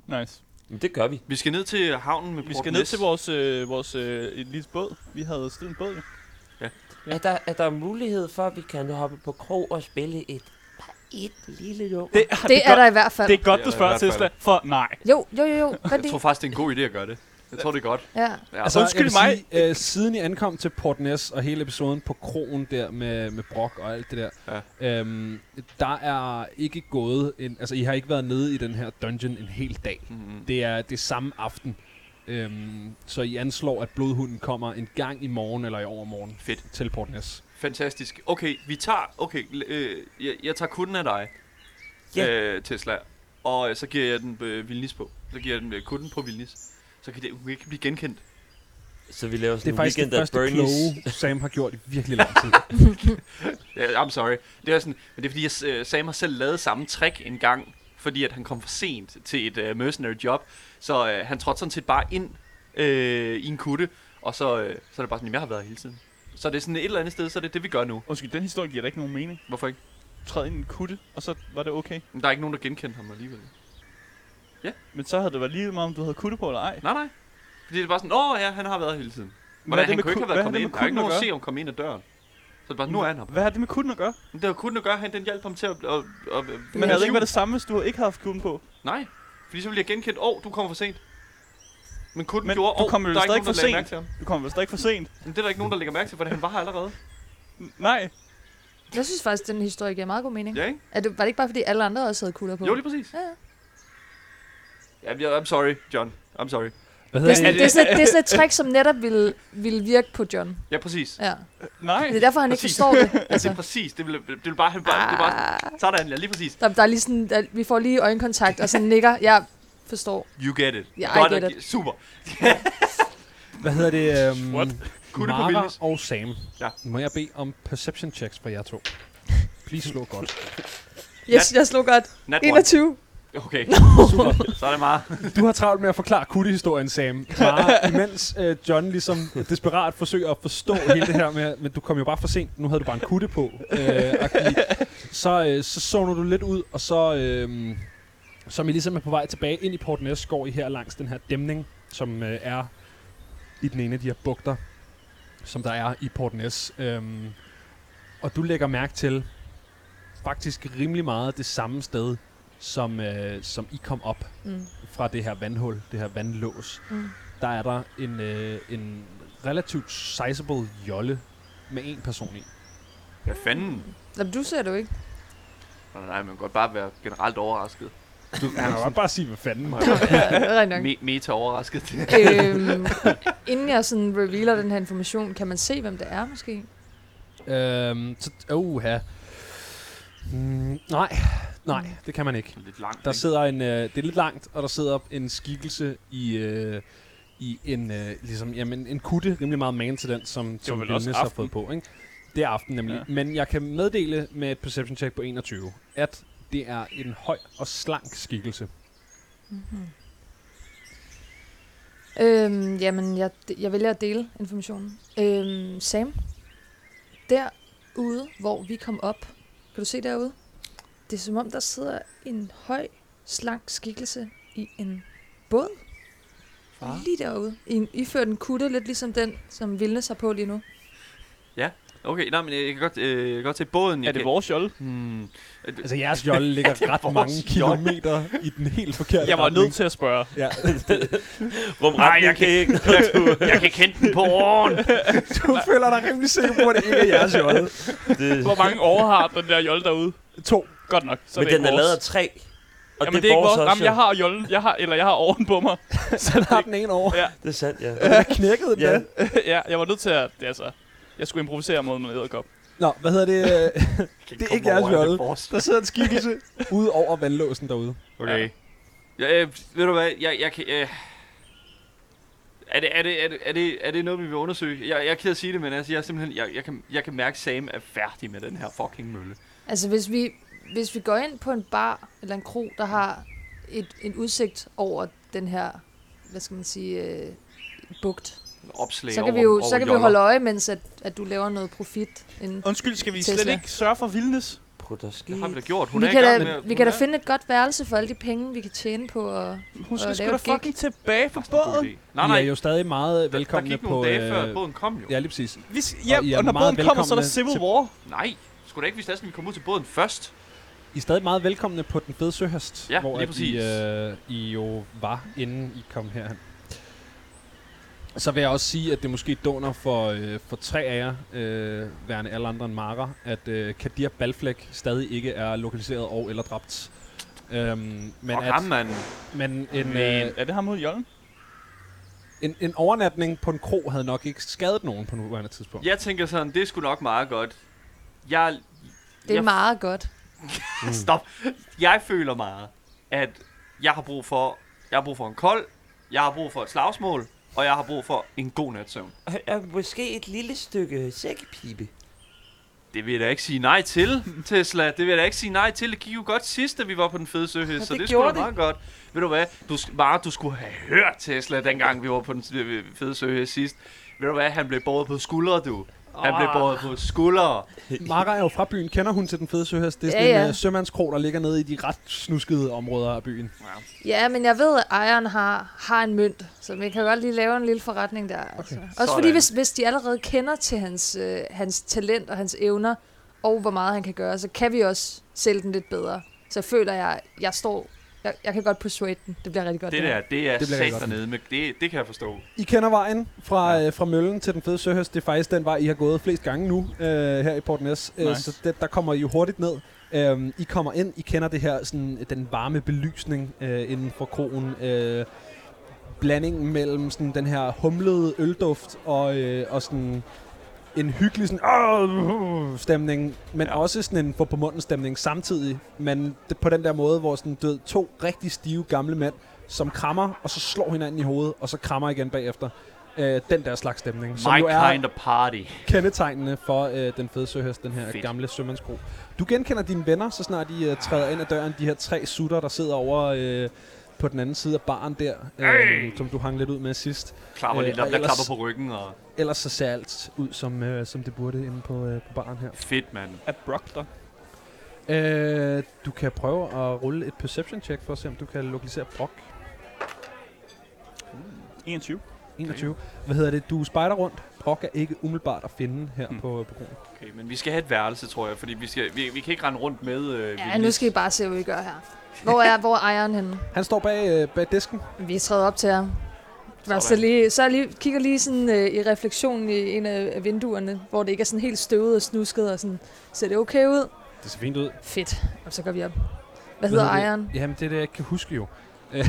[SPEAKER 5] Nice.
[SPEAKER 11] Men det gør vi.
[SPEAKER 6] Vi skal ned til havnen med
[SPEAKER 5] Vi skal ned til vores, øh, vores øh, lille båd. Vi havde stillet en båd, jo.
[SPEAKER 9] Er der, er der mulighed for, at vi kan hoppe på krog og spille et, bare et lille nummer?
[SPEAKER 5] Det,
[SPEAKER 8] Det er der i hvert fald.
[SPEAKER 5] Det er godt,
[SPEAKER 6] Det
[SPEAKER 5] du
[SPEAKER 6] er
[SPEAKER 5] spørger,
[SPEAKER 6] i hvert
[SPEAKER 5] Tesla.
[SPEAKER 6] fald.
[SPEAKER 5] For nej.
[SPEAKER 8] Jo, jo, jo, jo. Gør
[SPEAKER 6] Jeg tror
[SPEAKER 8] det.
[SPEAKER 6] faktisk, det er en god idé at gøre det. Jeg tror, det er godt.
[SPEAKER 8] Ja.
[SPEAKER 6] Ja.
[SPEAKER 2] Altså,
[SPEAKER 5] undskyld
[SPEAKER 2] undskyld mig.
[SPEAKER 5] mig.
[SPEAKER 2] Sige, øh, siden I ankom til Port Ness og hele episoden på krogen der med, med Brock og alt det der, ja. øhm, der er ikke gået en... Altså, I har ikke været nede i den her dungeon en hel dag.
[SPEAKER 6] Mm-hmm.
[SPEAKER 2] Det er det samme aften. Øhm, så I anslår, at blodhunden kommer en gang i morgen eller i overmorgen
[SPEAKER 6] Fedt.
[SPEAKER 2] til Port Ness.
[SPEAKER 6] Fantastisk. Okay, vi tager, okay, l- øh, jeg, jeg tager kunden af dig,
[SPEAKER 9] Ja.
[SPEAKER 6] øh, Tesla, og øh, så giver jeg den øh, Vilnis på. Så giver jeg den øh, kunden på Vilnis. Så kan det, hun ikke blive genkendt.
[SPEAKER 11] Så vi laver
[SPEAKER 2] Det
[SPEAKER 11] sådan
[SPEAKER 2] er
[SPEAKER 11] en
[SPEAKER 2] faktisk det
[SPEAKER 11] weekend at
[SPEAKER 2] første
[SPEAKER 11] Bernie's.
[SPEAKER 2] kloge, Sam har gjort i virkelig lang tid.
[SPEAKER 6] Ja, I'm sorry. Det er sådan, men det er fordi, jeg, øh, Sam har selv lavet samme trick en gang, fordi at han kom for sent til et øh, mercenary job. Så øh, han trådte sådan set bare ind øh, i en kutte, og så, øh, så er det bare sådan, "Jamen, jeg har været her hele tiden. Så det er sådan et eller andet sted, så er det det, vi gør nu.
[SPEAKER 5] Undskyld, den historie giver da ikke nogen mening.
[SPEAKER 6] Hvorfor ikke?
[SPEAKER 5] Træd ind i en kutte, og så var det okay.
[SPEAKER 6] Men Der er ikke nogen, der genkendte ham alligevel.
[SPEAKER 5] Men så havde det været lige meget, om du havde kutte på eller ej.
[SPEAKER 6] Nej, nej. Fordi det er bare sådan, åh ja, han har været her hele tiden.
[SPEAKER 5] Hvad
[SPEAKER 6] Hvordan,
[SPEAKER 5] er det
[SPEAKER 6] han
[SPEAKER 5] med
[SPEAKER 6] kunne ikke
[SPEAKER 5] ku-
[SPEAKER 6] have været
[SPEAKER 5] hvad er
[SPEAKER 6] kommet
[SPEAKER 5] det
[SPEAKER 6] ind.
[SPEAKER 5] med
[SPEAKER 6] Der er ikke
[SPEAKER 5] kutten
[SPEAKER 6] nogen
[SPEAKER 5] at
[SPEAKER 6] at
[SPEAKER 5] gøre?
[SPEAKER 6] se, om kom ind ad døren. Så det er bare, nu er han her.
[SPEAKER 5] Hvad har det med kutten at gøre?
[SPEAKER 6] Men Det var kunden at gøre, han den hjalp ham til at... Og, og,
[SPEAKER 5] Men havde det ikke været det samme, hvis du ikke havde haft kutten på?
[SPEAKER 6] Nej, fordi så ville jeg genkendt, åh, oh, du kommer for sent. Men kunden
[SPEAKER 5] Men
[SPEAKER 6] gjorde,
[SPEAKER 5] du
[SPEAKER 6] åh,
[SPEAKER 5] kommer jo
[SPEAKER 6] der er
[SPEAKER 5] stadig
[SPEAKER 6] ikke nogen,
[SPEAKER 5] for
[SPEAKER 6] der lagde
[SPEAKER 5] sent.
[SPEAKER 6] mærke til ham.
[SPEAKER 5] Du kommer vel stadig for sent?
[SPEAKER 6] Men det er der ikke nogen, der lægger mærke til, for han var her allerede.
[SPEAKER 5] N- Nej.
[SPEAKER 8] Jeg synes faktisk, den historie giver meget god mening.
[SPEAKER 6] Ja, ikke?
[SPEAKER 8] Er det, var det ikke bare, fordi alle andre også havde kugler på?
[SPEAKER 6] Jo, lige præcis.
[SPEAKER 8] Ja, ja.
[SPEAKER 6] Ja, jeg- I'm sorry, John. I'm sorry.
[SPEAKER 2] Hvad
[SPEAKER 8] Det, er
[SPEAKER 2] hedder
[SPEAKER 8] sådan, det, er sådan, et- det er sådan et trick, som netop ville, ville virke på John.
[SPEAKER 6] Ja, præcis.
[SPEAKER 8] Ja.
[SPEAKER 5] Nej.
[SPEAKER 8] Det er derfor, han ikke
[SPEAKER 6] Præcis.
[SPEAKER 8] forstår det.
[SPEAKER 6] Altså.
[SPEAKER 8] Altså,
[SPEAKER 6] Det er præcis. Det ville, det ville bare, han bare, det er bare
[SPEAKER 8] ah,
[SPEAKER 6] sådan, ja, lige præcis.
[SPEAKER 8] der, der er lige sådan, der, vi får lige øjenkontakt, og så nikker. Jeg forstår.
[SPEAKER 6] You get it.
[SPEAKER 8] Ja, I
[SPEAKER 6] Godt,
[SPEAKER 8] get
[SPEAKER 6] at-
[SPEAKER 8] it.
[SPEAKER 6] Super.
[SPEAKER 2] Hvad hedder det? Øhm,
[SPEAKER 5] What?
[SPEAKER 6] Kunne det på
[SPEAKER 2] Mara
[SPEAKER 6] Willis?
[SPEAKER 2] og Sam.
[SPEAKER 6] Ja.
[SPEAKER 2] Må jeg bede om perception checks fra jer to? Please slå godt.
[SPEAKER 8] Yes, jeg slog godt.
[SPEAKER 6] Nat one.
[SPEAKER 8] 21.
[SPEAKER 6] Okay, super. Så er det meget.
[SPEAKER 2] Du har travlt med at forklare kuttehistorien, Sam. Bare, imens øh, John ligesom desperat forsøger at forstå hele det her med, men du kom jo bare for sent, nu havde du bare en kutte på. Øh, agtig. så, øh, så zoner du lidt ud, og så, øh, som I ligesom er på vej tilbage ind i Port Næs, går I her langs den her dæmning, som øh, er i den ene af de her bugter, som der er i Port Næs. Øh, og du lægger mærke til faktisk rimelig meget det samme sted, som, øh, som I kom op
[SPEAKER 8] Mm.
[SPEAKER 2] fra det her vandhul, det her vandlås,
[SPEAKER 8] Mm.
[SPEAKER 2] der er der en, øh, en relativt sizable jolle med en person i.
[SPEAKER 6] Hvad fanden?
[SPEAKER 8] Jamen, du ser det jo ikke.
[SPEAKER 6] Nå, nej, man kan godt bare være generelt overrasket.
[SPEAKER 2] Du kan jo bare sige, hvad fanden mig.
[SPEAKER 8] Ja, det er rigtig nok.
[SPEAKER 6] Me- meta overrasket.
[SPEAKER 8] øhm, inden jeg sådan revealer den her information, kan man se, hvem det er måske?
[SPEAKER 2] øhm, så, oh, ja. Mm, nej, nej, det kan man ikke.
[SPEAKER 6] Lidt langt,
[SPEAKER 2] Der
[SPEAKER 6] ikke?
[SPEAKER 2] sidder en, øh, det er lidt langt, og der sidder en skikkelse i, øh, i en, øh, ligesom, jamen, en kutte, rimelig meget man til den, som, som
[SPEAKER 5] vel også
[SPEAKER 2] Vilnes har
[SPEAKER 5] aften.
[SPEAKER 2] fået på. Ikke? Det er aften nemlig.
[SPEAKER 5] Ja.
[SPEAKER 2] Ja. Men jeg kan meddele med et perception check på 21, at det er en høj og slank skikkelse.
[SPEAKER 8] Øhm, jamen, jeg, jeg vælger at dele informationen. Øhm, Sam, der
[SPEAKER 3] ude, hvor vi kom op. Kan du se derude? Det er som om, der sidder en høj, slank skikkelse i en båd. Far. Lige derude. I, en- iført en kutte, lidt ligesom den, som Vilne sig på lige nu.
[SPEAKER 6] Okay, nej, men jeg kan godt, øh, jeg kan godt se båden.
[SPEAKER 5] Er det vores jolle?
[SPEAKER 6] Hmm.
[SPEAKER 2] Altså, jeres jolle ligger ret mange kilometer i den helt forkerte
[SPEAKER 5] Jeg var
[SPEAKER 2] retning.
[SPEAKER 5] nødt til at spørge.
[SPEAKER 2] Ja,
[SPEAKER 6] Rum, nej, jeg kan ikke. jeg kan kende den på åren.
[SPEAKER 2] du føler dig rimelig sikker på, at det ikke er jeres jolle.
[SPEAKER 9] Det,
[SPEAKER 5] Hvor mange år har den der jolle derude?
[SPEAKER 2] To.
[SPEAKER 5] Godt nok. Så
[SPEAKER 9] men
[SPEAKER 5] det
[SPEAKER 9] den er
[SPEAKER 5] vores.
[SPEAKER 9] lavet af træ. Og
[SPEAKER 5] Jamen,
[SPEAKER 9] det er
[SPEAKER 5] ikke
[SPEAKER 9] vores
[SPEAKER 5] vores.
[SPEAKER 9] også,
[SPEAKER 5] Jamen, jeg
[SPEAKER 9] jo.
[SPEAKER 5] har jollen. Jeg har, eller jeg har oven på mig.
[SPEAKER 2] Så har den en over.
[SPEAKER 9] Det er sandt, ja.
[SPEAKER 2] Jeg knækkede den
[SPEAKER 9] Ja.
[SPEAKER 2] ja.
[SPEAKER 5] ja, jeg var nødt til at... Det, er altså, jeg skulle improvisere mod en edderkop.
[SPEAKER 2] Nå, hvad hedder det? det er ikke jeres jolle.
[SPEAKER 6] vores.
[SPEAKER 2] Der sidder en skikkelse ude over vandlåsen derude.
[SPEAKER 6] Okay. Ja. Øh, ved du hvad, jeg, jeg kan... Øh... Er det, er, det, er, det, er, det, er det noget, vi vil undersøge? Jeg, jeg er ked af at sige det, men altså, jeg, er simpelthen, jeg, jeg, kan, jeg kan mærke, at Sam er færdig med den her fucking mølle.
[SPEAKER 3] Altså, hvis vi, hvis vi går ind på en bar eller en kro, der har et, en udsigt over den her, hvad skal man sige, øh, bugt,
[SPEAKER 6] Opslag
[SPEAKER 3] så kan
[SPEAKER 6] over,
[SPEAKER 3] vi jo
[SPEAKER 6] over
[SPEAKER 3] så kan vi
[SPEAKER 6] joller.
[SPEAKER 3] holde øje, mens at, at du laver noget profit. Inden.
[SPEAKER 5] Undskyld, skal vi
[SPEAKER 3] Tesla.
[SPEAKER 5] slet ikke sørge for vildnes?
[SPEAKER 9] Prutter ski.
[SPEAKER 6] Det har vi da gjort. Hun
[SPEAKER 3] Vi
[SPEAKER 6] er
[SPEAKER 3] kan,
[SPEAKER 6] i gang
[SPEAKER 3] da,
[SPEAKER 6] med...
[SPEAKER 3] vi kan da finde et godt værelse for alle de penge, vi kan tjene på. Og,
[SPEAKER 5] Hun
[SPEAKER 3] Og
[SPEAKER 5] skal sgu
[SPEAKER 3] lave
[SPEAKER 5] da
[SPEAKER 3] et gig.
[SPEAKER 5] fucking tilbage på
[SPEAKER 6] God
[SPEAKER 5] båden.
[SPEAKER 6] idé. Nej, nej.
[SPEAKER 2] I er jo stadig meget
[SPEAKER 6] der, der
[SPEAKER 2] velkomne
[SPEAKER 6] gik
[SPEAKER 2] på...
[SPEAKER 6] nogle dage før, at
[SPEAKER 2] øh,
[SPEAKER 6] båden kom jo.
[SPEAKER 2] Ja, lige præcis.
[SPEAKER 5] Hvis,
[SPEAKER 2] Og I
[SPEAKER 5] ja,
[SPEAKER 2] er
[SPEAKER 5] og når
[SPEAKER 2] meget
[SPEAKER 5] båden kommer, så er
[SPEAKER 2] velkomne
[SPEAKER 5] der Civil
[SPEAKER 2] til-
[SPEAKER 5] War.
[SPEAKER 6] Nej, skulle da ikke, hvis Lassen ville komme ud til båden først?
[SPEAKER 2] I er stadig meget velkomne på Den Fede Søhøst,
[SPEAKER 6] Ja,
[SPEAKER 2] hvor
[SPEAKER 6] lige
[SPEAKER 2] at I,
[SPEAKER 6] præcis.
[SPEAKER 2] øh, I jo var, inden I kom herhen. Så vil jeg også sige, at det måske dåner for, øh, for tre af jer, øh, værende alle andre end Mara, at øh, Kadir Balflæk stadig ikke er lokaliseret og eller dræbt. Øhm, men,
[SPEAKER 6] Og
[SPEAKER 2] at,
[SPEAKER 6] ham, mand.
[SPEAKER 2] men en, øh,
[SPEAKER 5] Men er det ham mod jollen?
[SPEAKER 2] en, en overnatning på en kro havde nok ikke skadet nogen på nuværende tidspunkt.
[SPEAKER 6] Jeg tænker sådan, det skulle nok meget godt. Jeg,
[SPEAKER 3] det er
[SPEAKER 6] Jeg-
[SPEAKER 3] meget godt.
[SPEAKER 6] Stop. Jeg føler meget, at jeg har brug for, jeg har brug for en kold, jeg har brug for et slagsmål, og jeg har brug for en god nats søvn.
[SPEAKER 9] Ja, måske et lille stykke sækkepibe.
[SPEAKER 6] Det vil jeg da ikke sige nej til, Tesla. Det vil jeg da ikke sige nej til. Det gik jo godt sidst, da vi var på den fede søhøst,
[SPEAKER 9] Ja,
[SPEAKER 6] så
[SPEAKER 9] det
[SPEAKER 6] det skulle
[SPEAKER 9] gjorde
[SPEAKER 6] da meget godt. Ved du hvad? Du, sk- bare du skulle have hørt Tesla, dengang vi var på den øh, fede søhøst sidst. Ved du hvad? Han blev båret på skuldre, du. Han blev båret på skuldre.
[SPEAKER 2] Mara er jo fra byen. Kender hun til Den Fede Søhøst? Det er
[SPEAKER 3] Ja,
[SPEAKER 2] sådan en
[SPEAKER 3] ja.
[SPEAKER 2] øh, sømandskro, der ligger nede i de ret snuskede områder af byen.
[SPEAKER 3] Ja, men jeg ved, at ejeren har, har en mønt, så vi kan godt lige lave en lille forretning der. Altså. Okay. Også fordi,
[SPEAKER 6] Sådan.
[SPEAKER 3] hvis, hvis de allerede kender til hans, øh, hans talent og hans evner, og hvor meget han kan gøre, så kan vi også sælge den lidt bedre. Så føler jeg, jeg står... Jeg, jeg kan godt persuade den. Det bliver rigtig godt.
[SPEAKER 6] Det
[SPEAKER 3] her.
[SPEAKER 6] der, det er
[SPEAKER 2] Det bliver rigtig
[SPEAKER 6] sat
[SPEAKER 2] godt.
[SPEAKER 6] dernede med. Det, det kan jeg forstå.
[SPEAKER 2] I kender vejen fra, ja. øh, fra møllen til den fede søhøst. Det er faktisk den vej, I har gået flest gange nu øh, her i Port Næs. Øh,
[SPEAKER 5] Nice.
[SPEAKER 2] Så det, der kommer I jo hurtigt ned. Øhm, I kommer ind, I kender det her, sådan, øh, den varme belysning øh, inden for krogen. Øh, blandingen mellem sådan, den her humlede ølduft og, øh, og sådan en hyggelig sådan, "Åh!" uh," stemning, men ja. også sådan en få på munden stemning samtidig, men det, på den der måde, hvor sådan død to rigtig stive gamle mænd, som krammer, og så slår hinanden i hovedet, og så krammer igen bagefter. Øh, den der slags stemning, som
[SPEAKER 6] My
[SPEAKER 2] jo er
[SPEAKER 6] kind of party.
[SPEAKER 2] kendetegnende for øh, den fede søhøst, den her Fedt. gamle sømandskro. Du genkender dine venner, så snart de øh, træder ind ad døren, de her tre sutter, der sidder over øh, på den anden side af baren der, øh, som du hang lidt ud med sidst.
[SPEAKER 6] Klapper
[SPEAKER 2] Øh,
[SPEAKER 6] lidt
[SPEAKER 2] og
[SPEAKER 6] op, der
[SPEAKER 2] ellers-
[SPEAKER 6] klapper på ryggen og...
[SPEAKER 2] Ellers så ser alt ud, som, øh, som det burde inde på, øh, på baren her.
[SPEAKER 6] Fedt, mand.
[SPEAKER 5] Er Brock der?
[SPEAKER 2] Øh, du kan prøve at rulle et perception check for at se, om du kan lokalisere Brock
[SPEAKER 5] 21.
[SPEAKER 2] 21. Okay. Hvad hedder det? Du spejder rundt. Brock er ikke umiddelbart at finde her
[SPEAKER 5] Hmm.
[SPEAKER 2] mm. på, på kronen.
[SPEAKER 6] Okay, men vi skal have et værelse, tror jeg, fordi vi, skal, vi, vi kan ikke rende rundt med... Øh,
[SPEAKER 3] Ja,
[SPEAKER 6] Willis.
[SPEAKER 3] nu skal I bare se, hvad vi gør her. Hvor er, hvor er ejeren henne?
[SPEAKER 2] Han står bag, øh, bag disken.
[SPEAKER 3] Vi er træet op til ham. Var så
[SPEAKER 6] Sådan.
[SPEAKER 3] lige, så lige, kigger lige sådan øh, i refleksionen i en af, af vinduerne, hvor det ikke er sådan helt støvet og snusket, og sådan, ser det okay ud?
[SPEAKER 2] Det ser fint ud.
[SPEAKER 3] Fedt. Og så går vi op. Hvad hedder ejeren?
[SPEAKER 2] Jamen, det er det, jeg ikke kan huske jo. Øh,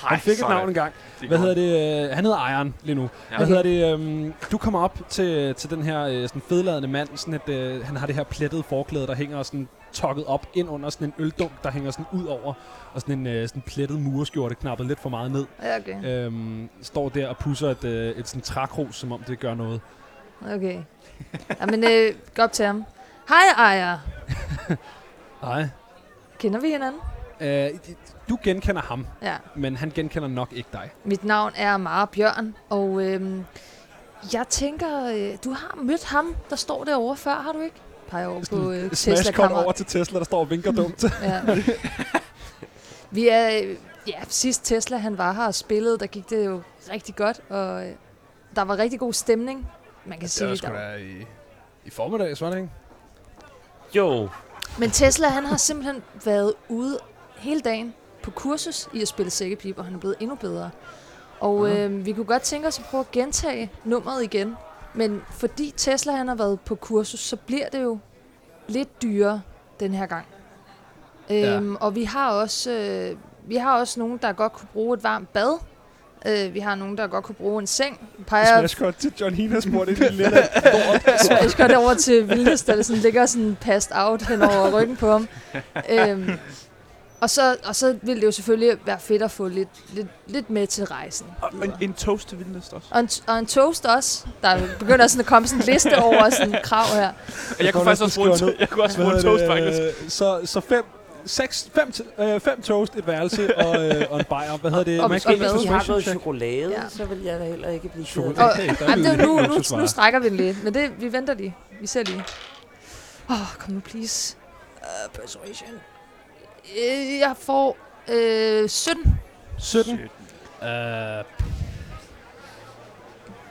[SPEAKER 2] han fik et
[SPEAKER 6] sådan.
[SPEAKER 2] navn engang.
[SPEAKER 6] Det
[SPEAKER 2] Hvad
[SPEAKER 6] går.
[SPEAKER 2] hedder det? øh, Han hedder Ejeren lige nu.
[SPEAKER 6] Ja.
[SPEAKER 2] Hvad hedder det? øhm, Du kommer op til, til den her øh, sådan fedladende mand. Sådan et, øh, han har det her plettede forklæde, der hænger sådan tokket op ind under sådan en øldunk, der hænger sådan ud over. Og sådan en øh, sådan plettet mureskjorte knappet lidt for meget ned.
[SPEAKER 3] Ja, okay.
[SPEAKER 2] øhm, står der og pusser et, øh, et sådan trækros, som om det gør noget.
[SPEAKER 3] okay. Jamen, øh, gå op til ham. Hej, ejer.
[SPEAKER 2] Nej.
[SPEAKER 3] Kender vi hinanden?
[SPEAKER 2] Øh, du genkender ham,
[SPEAKER 3] Ja.
[SPEAKER 2] men han genkender nok ikke dig.
[SPEAKER 3] Mit navn er Mara Bjørn, og øh, Jeg tænker, øh, du har mødt ham, der står derovre før, har du ikke? Peger over på øh,
[SPEAKER 2] Smash kommer over
[SPEAKER 3] Tesla-kammeraten.
[SPEAKER 2] til Tesla, der står og vinker dumt.
[SPEAKER 3] Ja. Vi er, øh, ja, sidst Tesla han var her og spillede, der gik det jo rigtig godt, og øh, der var rigtig god stemning. Man kan sige,
[SPEAKER 2] Det var
[SPEAKER 3] det
[SPEAKER 2] sgu
[SPEAKER 3] der
[SPEAKER 2] da i, i formiddags, var det ikke?
[SPEAKER 9] Jo,
[SPEAKER 3] Men Tesla, han har simpelthen været ude hele dagen på kursus i at spille sækkepip, og han er blevet endnu bedre. Og øh, vi kunne godt tænke os at prøve at gentage nummeret igen. Men fordi Tesla han har været på kursus, så bliver det jo lidt dyrere den her gang.
[SPEAKER 2] Ja.
[SPEAKER 3] Øhm, Og vi har også øh, vi har også nogen, der godt kunne bruge et varmt bad. Øh, vi har nogen, der godt kunne bruge en seng. Peger
[SPEAKER 2] Smash kommer til John Hina spurgte ind i lidt.
[SPEAKER 3] jeg skal over til Vildes, der sådan ligger sådan passed out hen over ryggen på ham. Øhm, og, så, og så ville det jo selvfølgelig være fedt at få lidt, lidt, lidt med til rejsen.
[SPEAKER 5] Og en, en toast til Vildnest også.
[SPEAKER 3] Og en, og en toast også. Der begynder sådan at komme sådan en liste over sådan en krav her.
[SPEAKER 5] Jeg kunne faktisk også bruge en, to- jeg kunne også bruge en toast, faktisk.
[SPEAKER 2] Så, så fem, seks, fem, t- øh, fem toast, et værelse og, øh, og en bajer. Hvad hedder det?
[SPEAKER 3] Og-
[SPEAKER 2] Man
[SPEAKER 3] og
[SPEAKER 2] skal ind
[SPEAKER 3] hvad?
[SPEAKER 2] på
[SPEAKER 9] hvis jeg har
[SPEAKER 2] situation
[SPEAKER 9] noget
[SPEAKER 2] check.
[SPEAKER 9] chokolade,
[SPEAKER 3] Ja.
[SPEAKER 9] ja. så vil jeg da heller ikke blive ked af
[SPEAKER 2] Chokolade.
[SPEAKER 9] det.
[SPEAKER 3] Og,
[SPEAKER 2] Okay, der er
[SPEAKER 3] jamen, det er
[SPEAKER 2] vi
[SPEAKER 3] jo nu, nu,
[SPEAKER 2] luksusvarer.
[SPEAKER 3] nu strækker vi den lidt. Men det, vi venter lige. Vi ser lige. Åh, oh, kom nu, please. Uh, persuasion. Øh, Jeg får øh, 17.
[SPEAKER 2] 17. Øh, Når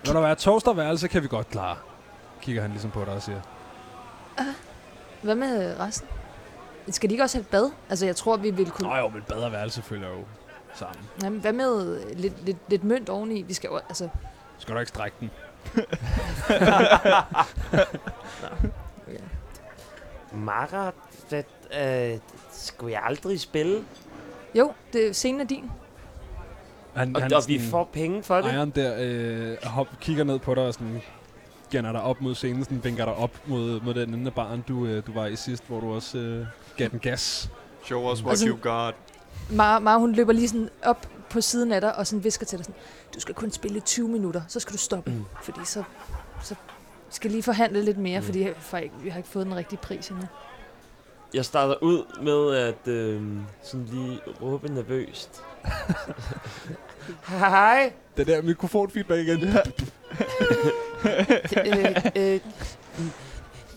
[SPEAKER 2] der er toast og værelse, kan vi godt klare. Kigger han ligesom på dig og siger.
[SPEAKER 3] Hvad med resten? Skal de ikke også have et bad? Altså, jeg tror, vi ville kunne...
[SPEAKER 2] Nå jo, men bedre værelse følger jo sammen.
[SPEAKER 3] Jamen, hvad med øh, lidt, lidt, lidt mønt oveni? Vi skal jo, altså...
[SPEAKER 2] Skal du ikke strække den?
[SPEAKER 9] Marat, det, øh, skulle jeg aldrig spille?
[SPEAKER 3] Jo, det, scenen er din.
[SPEAKER 2] Han,
[SPEAKER 9] Og, og vi får penge for det.
[SPEAKER 2] Ejeren der øh, hop, kigger ned på dig og sådan gænder dig op mod scenen, sådan vinker dig op mod, mod den ende af baren, du, øh, du var i sidst, hvor du også øh, gav den gas.
[SPEAKER 6] Show us what
[SPEAKER 3] Altså-
[SPEAKER 6] you got.
[SPEAKER 3] Mara, Mara, hun løber lige sådan op på siden af dig og sådan visker til dig sådan, du skal kun spille i 20 minutter, så skal du stoppe, mm. fordi så, så skal jeg lige forhandle lidt mere, mm. fordi jeg, for jeg, jeg har ikke fået den rigtige pris endnu.
[SPEAKER 9] Jeg starter ud med at øh, sådan lige råbe nervøst. Hej.
[SPEAKER 2] Det der mikrofonfeedback igen.
[SPEAKER 9] øh, øh,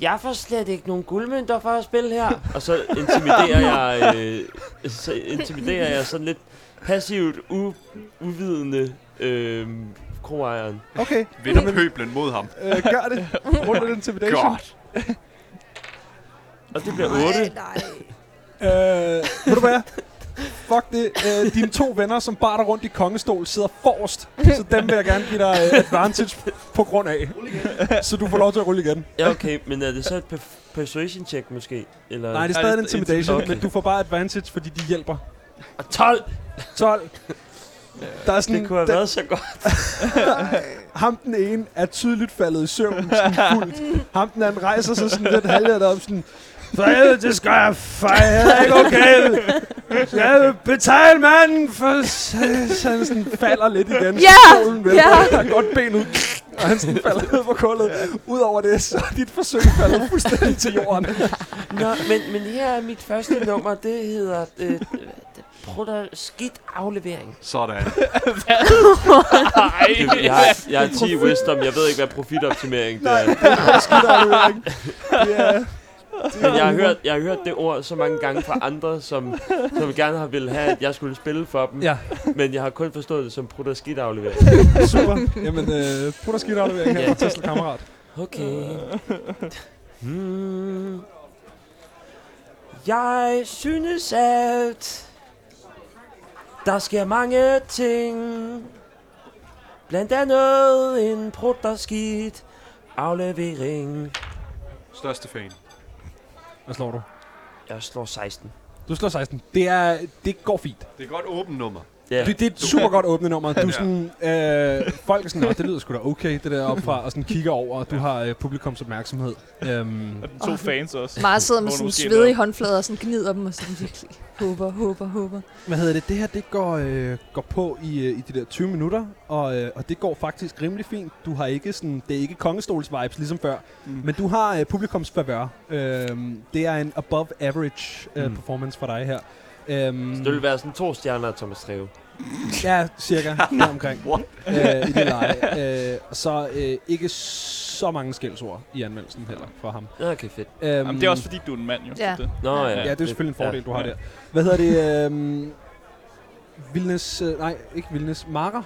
[SPEAKER 9] jeg får slet ikke nogen guldmønter for at spille her. Og så intimiderer jeg, øh, så intimiderer jeg sådan lidt passivt u- uvidende øh, kroejeren.
[SPEAKER 2] Okay,
[SPEAKER 6] Vender pøblen mod ham.
[SPEAKER 2] øh, gør det. Ruller den intimidation.
[SPEAKER 6] Godt.
[SPEAKER 9] Og det bliver 8.
[SPEAKER 3] nej.
[SPEAKER 2] Øh, ved du hvad? Fuck det. Øh, dine to venner, som bar dig rundt i kongestol, sidder forrest. Så dem vil jeg gerne give dig øh, advantage på grund af. Så du får lov til at rulle igen.
[SPEAKER 9] Ja, okay, men er det så et per- persuasion check måske? Eller?
[SPEAKER 2] Nej, det er stadig en
[SPEAKER 5] det er
[SPEAKER 2] intimidation,
[SPEAKER 9] intimidation.
[SPEAKER 2] men du får bare advantage, fordi de hjælper.
[SPEAKER 9] Og 12!
[SPEAKER 2] 12. Der er sådan,
[SPEAKER 9] Det kunne have
[SPEAKER 2] den-
[SPEAKER 9] været så godt.
[SPEAKER 2] ham den ene er tydeligt faldet i søvn, sådan fuldt. Ham den anden rejser sig sådan lidt halvlet op, sådan, for helvede, det skal jeg fejre, ikke okay? Jeg vil betale manden, for s- så han sådan falder lidt igen.
[SPEAKER 3] Ja!
[SPEAKER 2] Solen vælter,
[SPEAKER 3] Ja!
[SPEAKER 2] der er godt ben ud, og han sådan falder ned på gulvet. Udover det, så er dit forsøg faldet fuldstændig til jorden.
[SPEAKER 9] Nå, men, men her er mit første nummer, det hedder... Øh, Prutter skidt aflevering.
[SPEAKER 6] Sådan.
[SPEAKER 9] Det, jeg, har, jeg har 10 wisdom, jeg ved ikke, hvad profitoptimering det er.
[SPEAKER 2] Ja.
[SPEAKER 9] Men jeg har, hørt, jeg har hørt det ord så mange gange fra andre, som, som gerne har ville have, at jeg skulle spille for dem.
[SPEAKER 2] Ja.
[SPEAKER 9] Men jeg har kun forstået det som prutter skidt aflevering.
[SPEAKER 2] Super. Jamen, øh, brug dig skidt aflevering her
[SPEAKER 9] Ja.
[SPEAKER 2] fra Tesla, kammerat.
[SPEAKER 9] Okay. Hmm. Jeg synes, at der sker mange ting. Blandt andet en prutter skidt aflevering.
[SPEAKER 6] Største fan.
[SPEAKER 2] Hvad slår du?
[SPEAKER 9] Jeg slår 16.
[SPEAKER 2] Du slår 16. Det, er, det går fint.
[SPEAKER 6] Det er et godt åbent nummer.
[SPEAKER 9] Ja.
[SPEAKER 2] Det, det er et super godt åbne nummer. Du er sådan, øh, folk er sådan, "Nå, det lyder sgu da okay, det der opfra, og sådan kigger over, og du har øh, publikums opmærksomhed. Øhm,
[SPEAKER 5] Og de to fans også.
[SPEAKER 3] Mara sidder med
[SPEAKER 5] Hvor er
[SPEAKER 3] sådan
[SPEAKER 5] måske
[SPEAKER 3] svedige
[SPEAKER 5] noget.
[SPEAKER 3] håndflader og sådan gnider dem og sådan virkelig håber, håber, håber.
[SPEAKER 2] hvad hedder det? Det her, det går, øh, går på i, øh, i de der 20 minutter, og, øh, og det går faktisk rimelig fint. Du har ikke sådan, det er ikke kongestols-vibes ligesom før, mm. men du har øh, publikums favør. Øhm, det er en above average øh,
[SPEAKER 5] Mm.
[SPEAKER 2] performance for dig her. Øhm,
[SPEAKER 9] Det ville være sådan to stjerner af Thomas Treve.
[SPEAKER 2] Ja, cirka deromkring. øh, I det leje. Øh, så øh, ikke så mange skældsord i anmeldelsen heller for ham.
[SPEAKER 9] Nå, okay, fedt.
[SPEAKER 2] Øhm,
[SPEAKER 5] Jamen, det er også fordi, du er en mand, jo.
[SPEAKER 3] Ja.
[SPEAKER 5] Så Det.
[SPEAKER 9] Nå, ja.
[SPEAKER 2] Ja, det er selvfølgelig en fordel, du har
[SPEAKER 5] Ja.
[SPEAKER 2] der. Hvad hedder det? Øhm, Vilnes... Øh, nej, ikke Vilnes. Mara.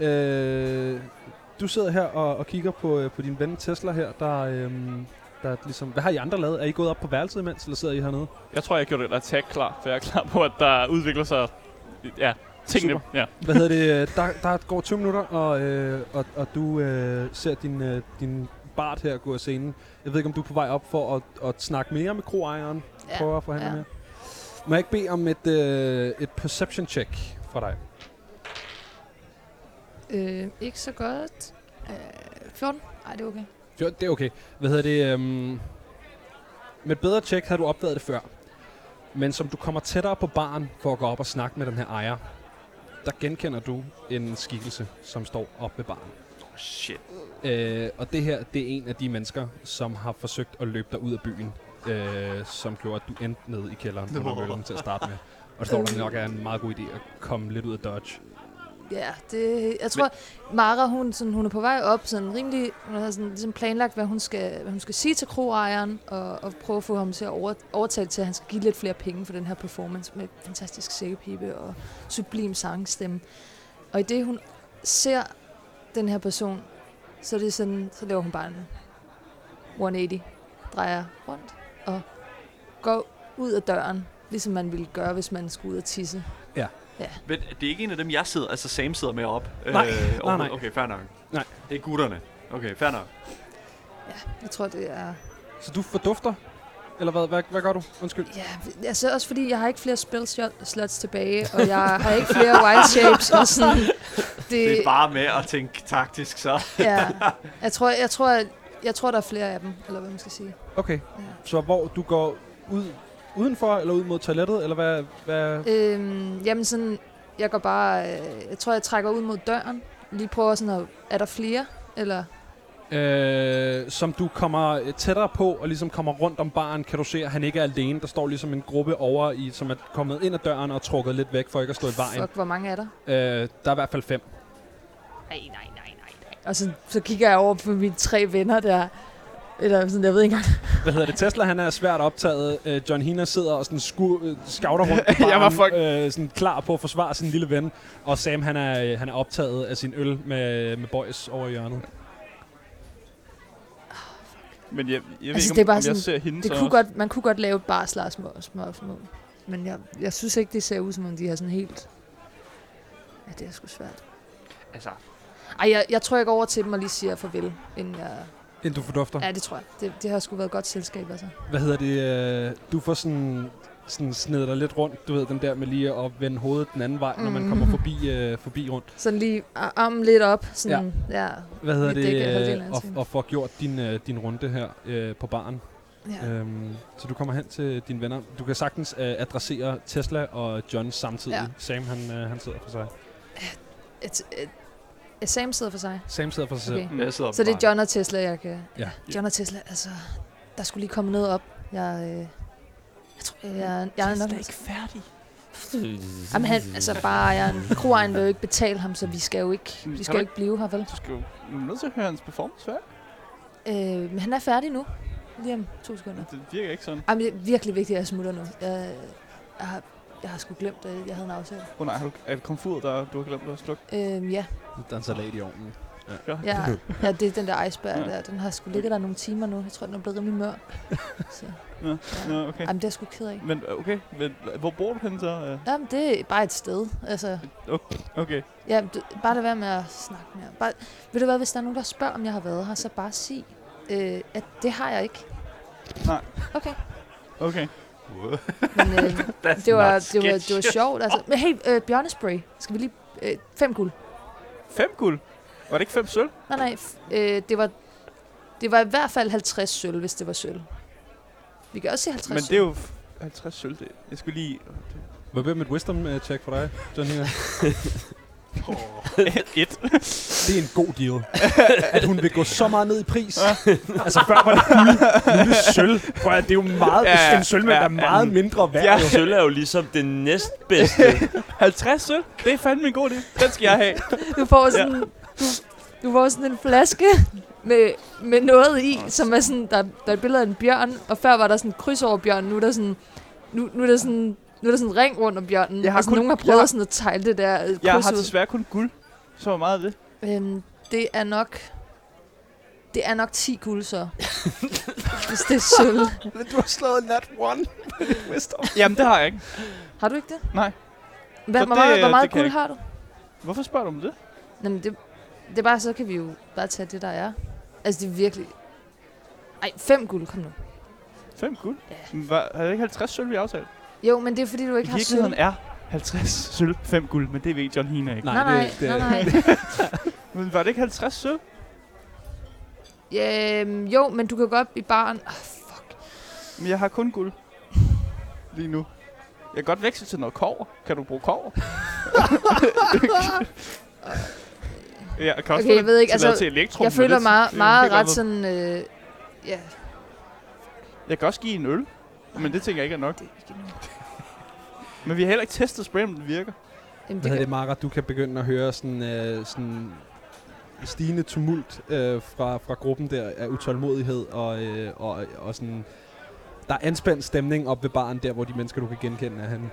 [SPEAKER 2] Ja. Øh, du sidder her og, og kigger på, øh, på din ven Tesla her, der... Øhm, der er ligesom, hvad har I andre lavet? Er I gået op på værelset imens, eller sidder I hernede?
[SPEAKER 5] Jeg tror, jeg gjorde et attack klar, for jeg er klar på, at der udvikler sig... Ja, tingene. Ja.
[SPEAKER 2] Hvad hedder det? øh, Der, der går 20 minutter, og, øh, og, og du øh, ser din, øh, din bart her gå af scenen. Jeg ved ikke, om du er på vej op for at, at snakke mere med kroejeren. Ja.
[SPEAKER 8] Ja,
[SPEAKER 2] Prøver at forhandle ja.
[SPEAKER 8] ja.
[SPEAKER 2] mere. Må jeg ikke bede om et, øh, et perception check fra dig?
[SPEAKER 8] Øh, ikke så godt. Øh, 14? Nej, det er okay.
[SPEAKER 2] Jo, det er okay. Hvad hedder det? Øhm, med et bedre tjek havde du opdaget det før. Men som du kommer tættere på baren for at gå op og snakke med den her ejer, der genkender du en skikkelse, som står oppe ved baren.
[SPEAKER 6] Oh, Shit.
[SPEAKER 2] Øh, og det her, det er en af de mennesker, som har forsøgt at løbe dig ud af byen, øh, som gjorde, at du endte ned i kælderen under møllen til at starte med. Og det står der nok er en meget god idé at komme lidt ud af Dodge.
[SPEAKER 8] Ja, det, jeg tror, Mara, hun, sådan, hun er på vej op, sådan rimelig, hun har sådan, ligesom planlagt, hvad hun skal, hvad hun skal sige til kroejeren, og, og prøve at få ham til at over, overtale til, at han skal give lidt flere penge for den her performance med fantastisk sækkepibe og sublim sangstemme. Og i det, hun ser den her person, så, er det sådan, så laver hun bare en 180, drejer rundt og går ud af døren, ligesom man ville gøre, hvis man skulle ud og tisse.
[SPEAKER 6] Men det er ikke en af dem, jeg sidder, altså Sam sidder med op. Nej,
[SPEAKER 2] nej, nej.
[SPEAKER 6] Okay, fair nok.
[SPEAKER 2] Nej.
[SPEAKER 6] Det er gutterne. Okay, fair nok.
[SPEAKER 8] Jeg tror, det er
[SPEAKER 2] Så du fordufter? Eller hvad, hvad, hvad gør du? Undskyld.
[SPEAKER 8] Ja, altså også fordi, jeg har ikke flere spell shot- slots tilbage, og jeg har ikke flere wild shapes og sådan. Det,
[SPEAKER 6] Det
[SPEAKER 8] Øh,
[SPEAKER 6] er bare med at tænke taktisk, så.
[SPEAKER 8] ja. Jeg tror, jeg, tror, jeg, jeg tror, der er flere af dem, eller hvad man skal sige.
[SPEAKER 2] Okay, så hvor du går ud udenfor, eller ud mod toilettet, eller hvad? hvad?
[SPEAKER 8] Øhm, jamen sådan, jeg går bare, øh, jeg tror, jeg trækker ud mod døren. Lige prøver sådan at, er der flere? Eller,
[SPEAKER 2] Øh, som du kommer øh, tættere på, og ligesom kommer rundt om baren, kan du se, at han ikke er alene. Der står ligesom en gruppe over i, som er kommet ind ad døren og trukket lidt væk, for ikke at stå i vejen.
[SPEAKER 8] fuck, hvor mange er der?
[SPEAKER 2] Øh, der er i hvert fald fem.
[SPEAKER 8] Nej, nej, nej, nej, nej. Og så, så kigger jeg over på mine tre venner der, eller sådan, jeg ved ikke engang.
[SPEAKER 2] Hvad hedder det? Tesla, han er svært optaget. Øh, John Hina sidder og sådan sku, øh, skavter rundt i
[SPEAKER 5] Jeg var
[SPEAKER 2] baren, øh, sådan klar på at forsvare sin lille ven. Og Sam, han er, øh, han er optaget af sin øl med, med boys over i hjørnet.
[SPEAKER 5] Men jeg, jeg ved ikke,
[SPEAKER 8] Altså,
[SPEAKER 5] om,
[SPEAKER 8] det er bare
[SPEAKER 5] om jeg
[SPEAKER 8] sådan-
[SPEAKER 5] ser hende
[SPEAKER 8] Det
[SPEAKER 5] så
[SPEAKER 8] kunne
[SPEAKER 5] også.
[SPEAKER 8] godt, man kunne godt lave bare slags små, små, små. Men jeg, jeg synes ikke, det ser ud som om, de har sådan helt... Ja, det er sgu svært.
[SPEAKER 6] Altså,
[SPEAKER 8] Ej, jeg, jeg tror, jeg går over til dem og lige siger farvel, inden jeg...
[SPEAKER 2] Inden du fordufter.
[SPEAKER 8] Ja, det tror jeg. Det, det har sgu været et godt selskab, altså.
[SPEAKER 2] hvad hedder det, øh, du får sådan, sådan snedet dig lidt rundt, du ved, den der med lige at vende hovedet den anden vej, mm. når man kommer forbi, øh, forbi rundt.
[SPEAKER 8] Sådan lige ar- armen lidt op, sådan... Ja. ja.
[SPEAKER 2] Hvad hedder
[SPEAKER 8] Mit dæk er
[SPEAKER 2] det,
[SPEAKER 8] halvdelen af
[SPEAKER 2] øh, og,
[SPEAKER 8] ansigtet.
[SPEAKER 2] og får gjort din, øh, din runde her øh, på baren.
[SPEAKER 8] ja.
[SPEAKER 2] Øhm, så du kommer hen til dine venner. Du kan sagtens øh, adressere Tesla og John samtidig. Ja.
[SPEAKER 8] Ja.
[SPEAKER 2] Sam, han, øh, han sidder for sig.
[SPEAKER 8] Et, et, et, Sam sidder for sig.
[SPEAKER 2] Sam sidder for sig selv.
[SPEAKER 8] Okay.
[SPEAKER 6] jeg sidder
[SPEAKER 8] Så det er
[SPEAKER 6] bare-
[SPEAKER 8] John og Tesla, jeg kan...
[SPEAKER 2] Ja.
[SPEAKER 8] John og Tesla, altså... Der skulle lige komme noget op. Jeg... Øh, jeg tror, jeg, jeg, jeg er nok... ikke færdig. Jamen, han, altså bare, jeg er en kroejeren vil jo ikke betale ham, så vi skal jo ikke,
[SPEAKER 5] Kan
[SPEAKER 8] vi
[SPEAKER 5] du
[SPEAKER 8] skal jo ikke blive her, vel?
[SPEAKER 5] Du skal jo du er nødt til at høre hans performance færdig.
[SPEAKER 8] Øh, men han er færdig nu. Lige om to sekunder.
[SPEAKER 5] Det virker ikke sådan.
[SPEAKER 8] Ej, men det er virkelig vigtigt, at jeg smutter nu. Jeg, jeg, har, jeg har sgu glemt, at jeg havde en aftale.
[SPEAKER 5] Åh oh, nej, har du, er det komfuret, der du har glemt at slukke?
[SPEAKER 8] Øh, ja,
[SPEAKER 2] Der er en salat i ovnen.
[SPEAKER 8] ja, ja, det er den der iceberg
[SPEAKER 5] Ja.
[SPEAKER 8] der. Den har sgu ligget der nogle timer nu. Jeg tror, den er blevet rimelig mør. Så,
[SPEAKER 5] Nå, okay.
[SPEAKER 8] jamen, det er jeg sgu ked af.
[SPEAKER 5] Men øh, okay, men, øh, hvor bor du henne så? Øh,
[SPEAKER 8] Jamen, det er bare et sted. Altså,
[SPEAKER 5] Okay.
[SPEAKER 8] ja, du, bare lad være med at snakke mere. Bare, ved du hvad, hvis der er nogen, der spørger, om jeg har været her, så bare sig, øh, at det har jeg ikke.
[SPEAKER 5] Nej.
[SPEAKER 8] Okay.
[SPEAKER 5] Okay.
[SPEAKER 8] Men øh, det, var, det, var, det var sjovt. Altså. Men hey, øh, bjørnespray. Skal vi lige... Øh, fem guld.
[SPEAKER 5] Fem guld? Var det ikke fem sølv?
[SPEAKER 8] Nej, nej. F- øh, det, var, det var i hvert fald 50 sølv, hvis det var sølv. Vi kan også sige 50
[SPEAKER 5] Men det
[SPEAKER 8] sølv.
[SPEAKER 5] er jo f- 50 sølv. Det. Jeg skulle lige...
[SPEAKER 2] øh, Hvad bliver mit wisdom-check for dig, John Hina?
[SPEAKER 5] Et.
[SPEAKER 2] Det er en god deal. At hun vil gå så meget ned i pris. altså før var det guld, nu er det sølv. Prøv at, det er jo meget,
[SPEAKER 5] Ja,
[SPEAKER 2] ja, en sølvmand
[SPEAKER 5] ja,
[SPEAKER 2] ja, er meget mindre værd.
[SPEAKER 5] Ja.
[SPEAKER 2] Ja.
[SPEAKER 9] Sølv er jo ligesom det næstbedste.
[SPEAKER 5] 50 sølv? Det er fandme en god idé. Den skal jeg have.
[SPEAKER 8] Du får sådan, du, du får sådan en flaske med, med noget i, som er sådan, der, der er et billede af en bjørn, og før var der sådan et kryds over bjørnen, nu er der sådan, nu, nu er der sådan, nu er der sådan en ring rundt om bjørnen,
[SPEAKER 5] Jeg har
[SPEAKER 8] og sådan,
[SPEAKER 5] kun-
[SPEAKER 8] nogen har
[SPEAKER 5] jeg
[SPEAKER 8] prøvet
[SPEAKER 5] har-
[SPEAKER 8] sådan at tegle det der øh, kryds
[SPEAKER 5] Jeg har
[SPEAKER 8] ud.
[SPEAKER 5] desværre kun guld. Så hvor meget er det?
[SPEAKER 8] Øhm, det er nok... Det er nok 10 guld, så. Hvis det er sølv.
[SPEAKER 2] Du har slået nat one. Wisdom.
[SPEAKER 5] Jamen, det har jeg ikke.
[SPEAKER 8] Har du ikke det?
[SPEAKER 5] Nej.
[SPEAKER 8] Hvad,
[SPEAKER 5] Så
[SPEAKER 8] hvor,
[SPEAKER 5] det- øh,
[SPEAKER 8] meget, hvor
[SPEAKER 5] det
[SPEAKER 8] meget
[SPEAKER 5] kan jeg
[SPEAKER 8] guld
[SPEAKER 5] ikke.
[SPEAKER 8] har du?
[SPEAKER 5] Hvorfor spørger du om det?
[SPEAKER 8] Jamen, det, det er bare, så kan vi jo bare tage det, der er. Altså, det er virkelig... Ej, 5 guld, kom nu.
[SPEAKER 5] 5 guld?
[SPEAKER 8] Ja.
[SPEAKER 5] Var, havde jeg ikke 50 sølv i aftalen?
[SPEAKER 8] Jo, men det er, fordi du
[SPEAKER 5] I
[SPEAKER 8] ikke har sølv.
[SPEAKER 5] virkeligheden er 50 sølv, 5 guld, men det ved John Hina ikke.
[SPEAKER 8] Nej, nej, nej, nej.
[SPEAKER 5] Men var det ikke 50 sølv?
[SPEAKER 8] Øhm, jo, men du kan gå op i baren. Ah, fuck.
[SPEAKER 5] Men jeg har kun guld. Lige nu. Jeg kan godt veksle til noget kover. Kan du bruge kover? ja, jeg kan også
[SPEAKER 8] Okay,
[SPEAKER 5] få
[SPEAKER 8] jeg ved ikke,
[SPEAKER 5] til,
[SPEAKER 8] altså,
[SPEAKER 5] til elektrum.
[SPEAKER 8] Jeg
[SPEAKER 5] men
[SPEAKER 8] føler
[SPEAKER 5] det-
[SPEAKER 8] meget,
[SPEAKER 5] Mm, det er
[SPEAKER 8] meget
[SPEAKER 5] helt
[SPEAKER 8] ret
[SPEAKER 5] andet.
[SPEAKER 8] sådan... Øh, ja,
[SPEAKER 5] Jeg kan også give en øl, men det tænker jeg ikke er nok.
[SPEAKER 8] det er ikke noget.
[SPEAKER 5] Men vi har heller ikke testet spray, om den virker.
[SPEAKER 8] Jamen,
[SPEAKER 2] Hvad
[SPEAKER 8] det
[SPEAKER 2] hedder
[SPEAKER 8] kan,
[SPEAKER 2] det, Mara? Du kan begynde at høre sådan, øh, sådan stigende tumult øh, fra, fra gruppen der af utålmodighed og, øh, og, og sådan... Der er anspændt stemning op ved baren, der hvor de mennesker, du kan genkende, er henne.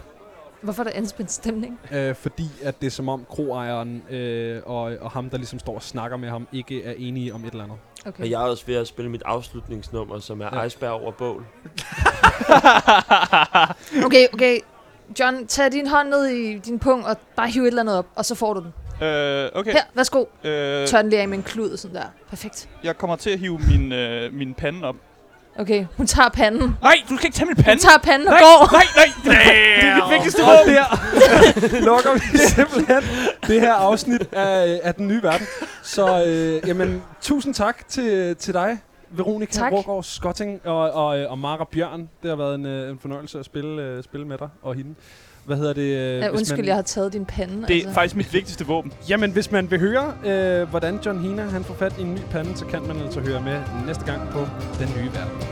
[SPEAKER 8] hvorfor er der anspændt stemning?
[SPEAKER 2] Øh, fordi at det er som om kroejeren øh, og, og ham, der ligesom står og snakker med ham, ikke er enige om et eller andet.
[SPEAKER 8] Okay.
[SPEAKER 9] Og jeg er også ved at spille mit afslutningsnummer, som er
[SPEAKER 2] Ja.
[SPEAKER 9] ja. Iceberg over bål.
[SPEAKER 8] Okay, okay. John, tag din hånd ned i din pung og bare hiv et eller andet op, og så får du den.
[SPEAKER 5] Øh, okay.
[SPEAKER 8] Her, værsgo.
[SPEAKER 5] Øh,
[SPEAKER 8] Tør den lige af med en klud, sådan der. Perfekt.
[SPEAKER 5] jeg kommer til at hive min, øh, min pande op.
[SPEAKER 8] Okay, hun tager panden.
[SPEAKER 5] Nej, du skal ikke tage min
[SPEAKER 8] Hun
[SPEAKER 5] pande!
[SPEAKER 8] tager panden og
[SPEAKER 5] Nej,
[SPEAKER 8] går.
[SPEAKER 5] nej, nej! Det er det vigtigste våben!
[SPEAKER 2] der lukker vi simpelthen det her afsnit af, af den nye verden. Så øh, jamen, tusind tak til, til dig, Veronica
[SPEAKER 8] Tak.
[SPEAKER 2] Ruggaard Skotting og, og, øh, og Mara Bjørn. Det har været en, øh, en fornøjelse at spille, øh, spille med dig og hende. Hvad hedder det? Øh,
[SPEAKER 8] Ja,
[SPEAKER 2] hvis
[SPEAKER 8] undskyld,
[SPEAKER 2] man,
[SPEAKER 8] jeg har taget din pande. altså.
[SPEAKER 5] Det er faktisk mit vigtigste våben.
[SPEAKER 2] Jamen, hvis man vil høre, øh, hvordan John Hina han får fat i en ny pande, så kan man altså høre med næste gang på Den Nye Verden.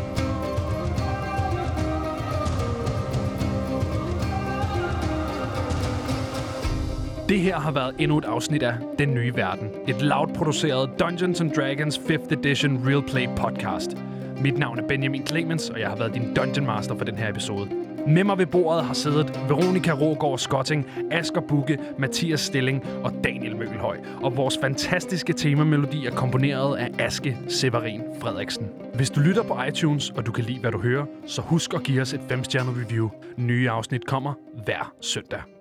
[SPEAKER 12] Det her har været endnu et afsnit af Den Nye Verden. Et loud produceret Dungeons and Dragons 5th Edition Real Play podcast. Mit navn er Benjamin Clemens, og jeg har været din Dungeon Master for den her episode. Med mig ved bordet har siddet Veronika Rågaard Skotting, Asger Bukke, Mathias Stilling og Daniel Møgelhøj. Og vores fantastiske temamelodi er komponeret af Aske Severin Frederiksen. Hvis du lytter på iTunes, og du kan lide, hvad du hører, så husk at give os et 5-stjernet review. Nye afsnit kommer hver søndag.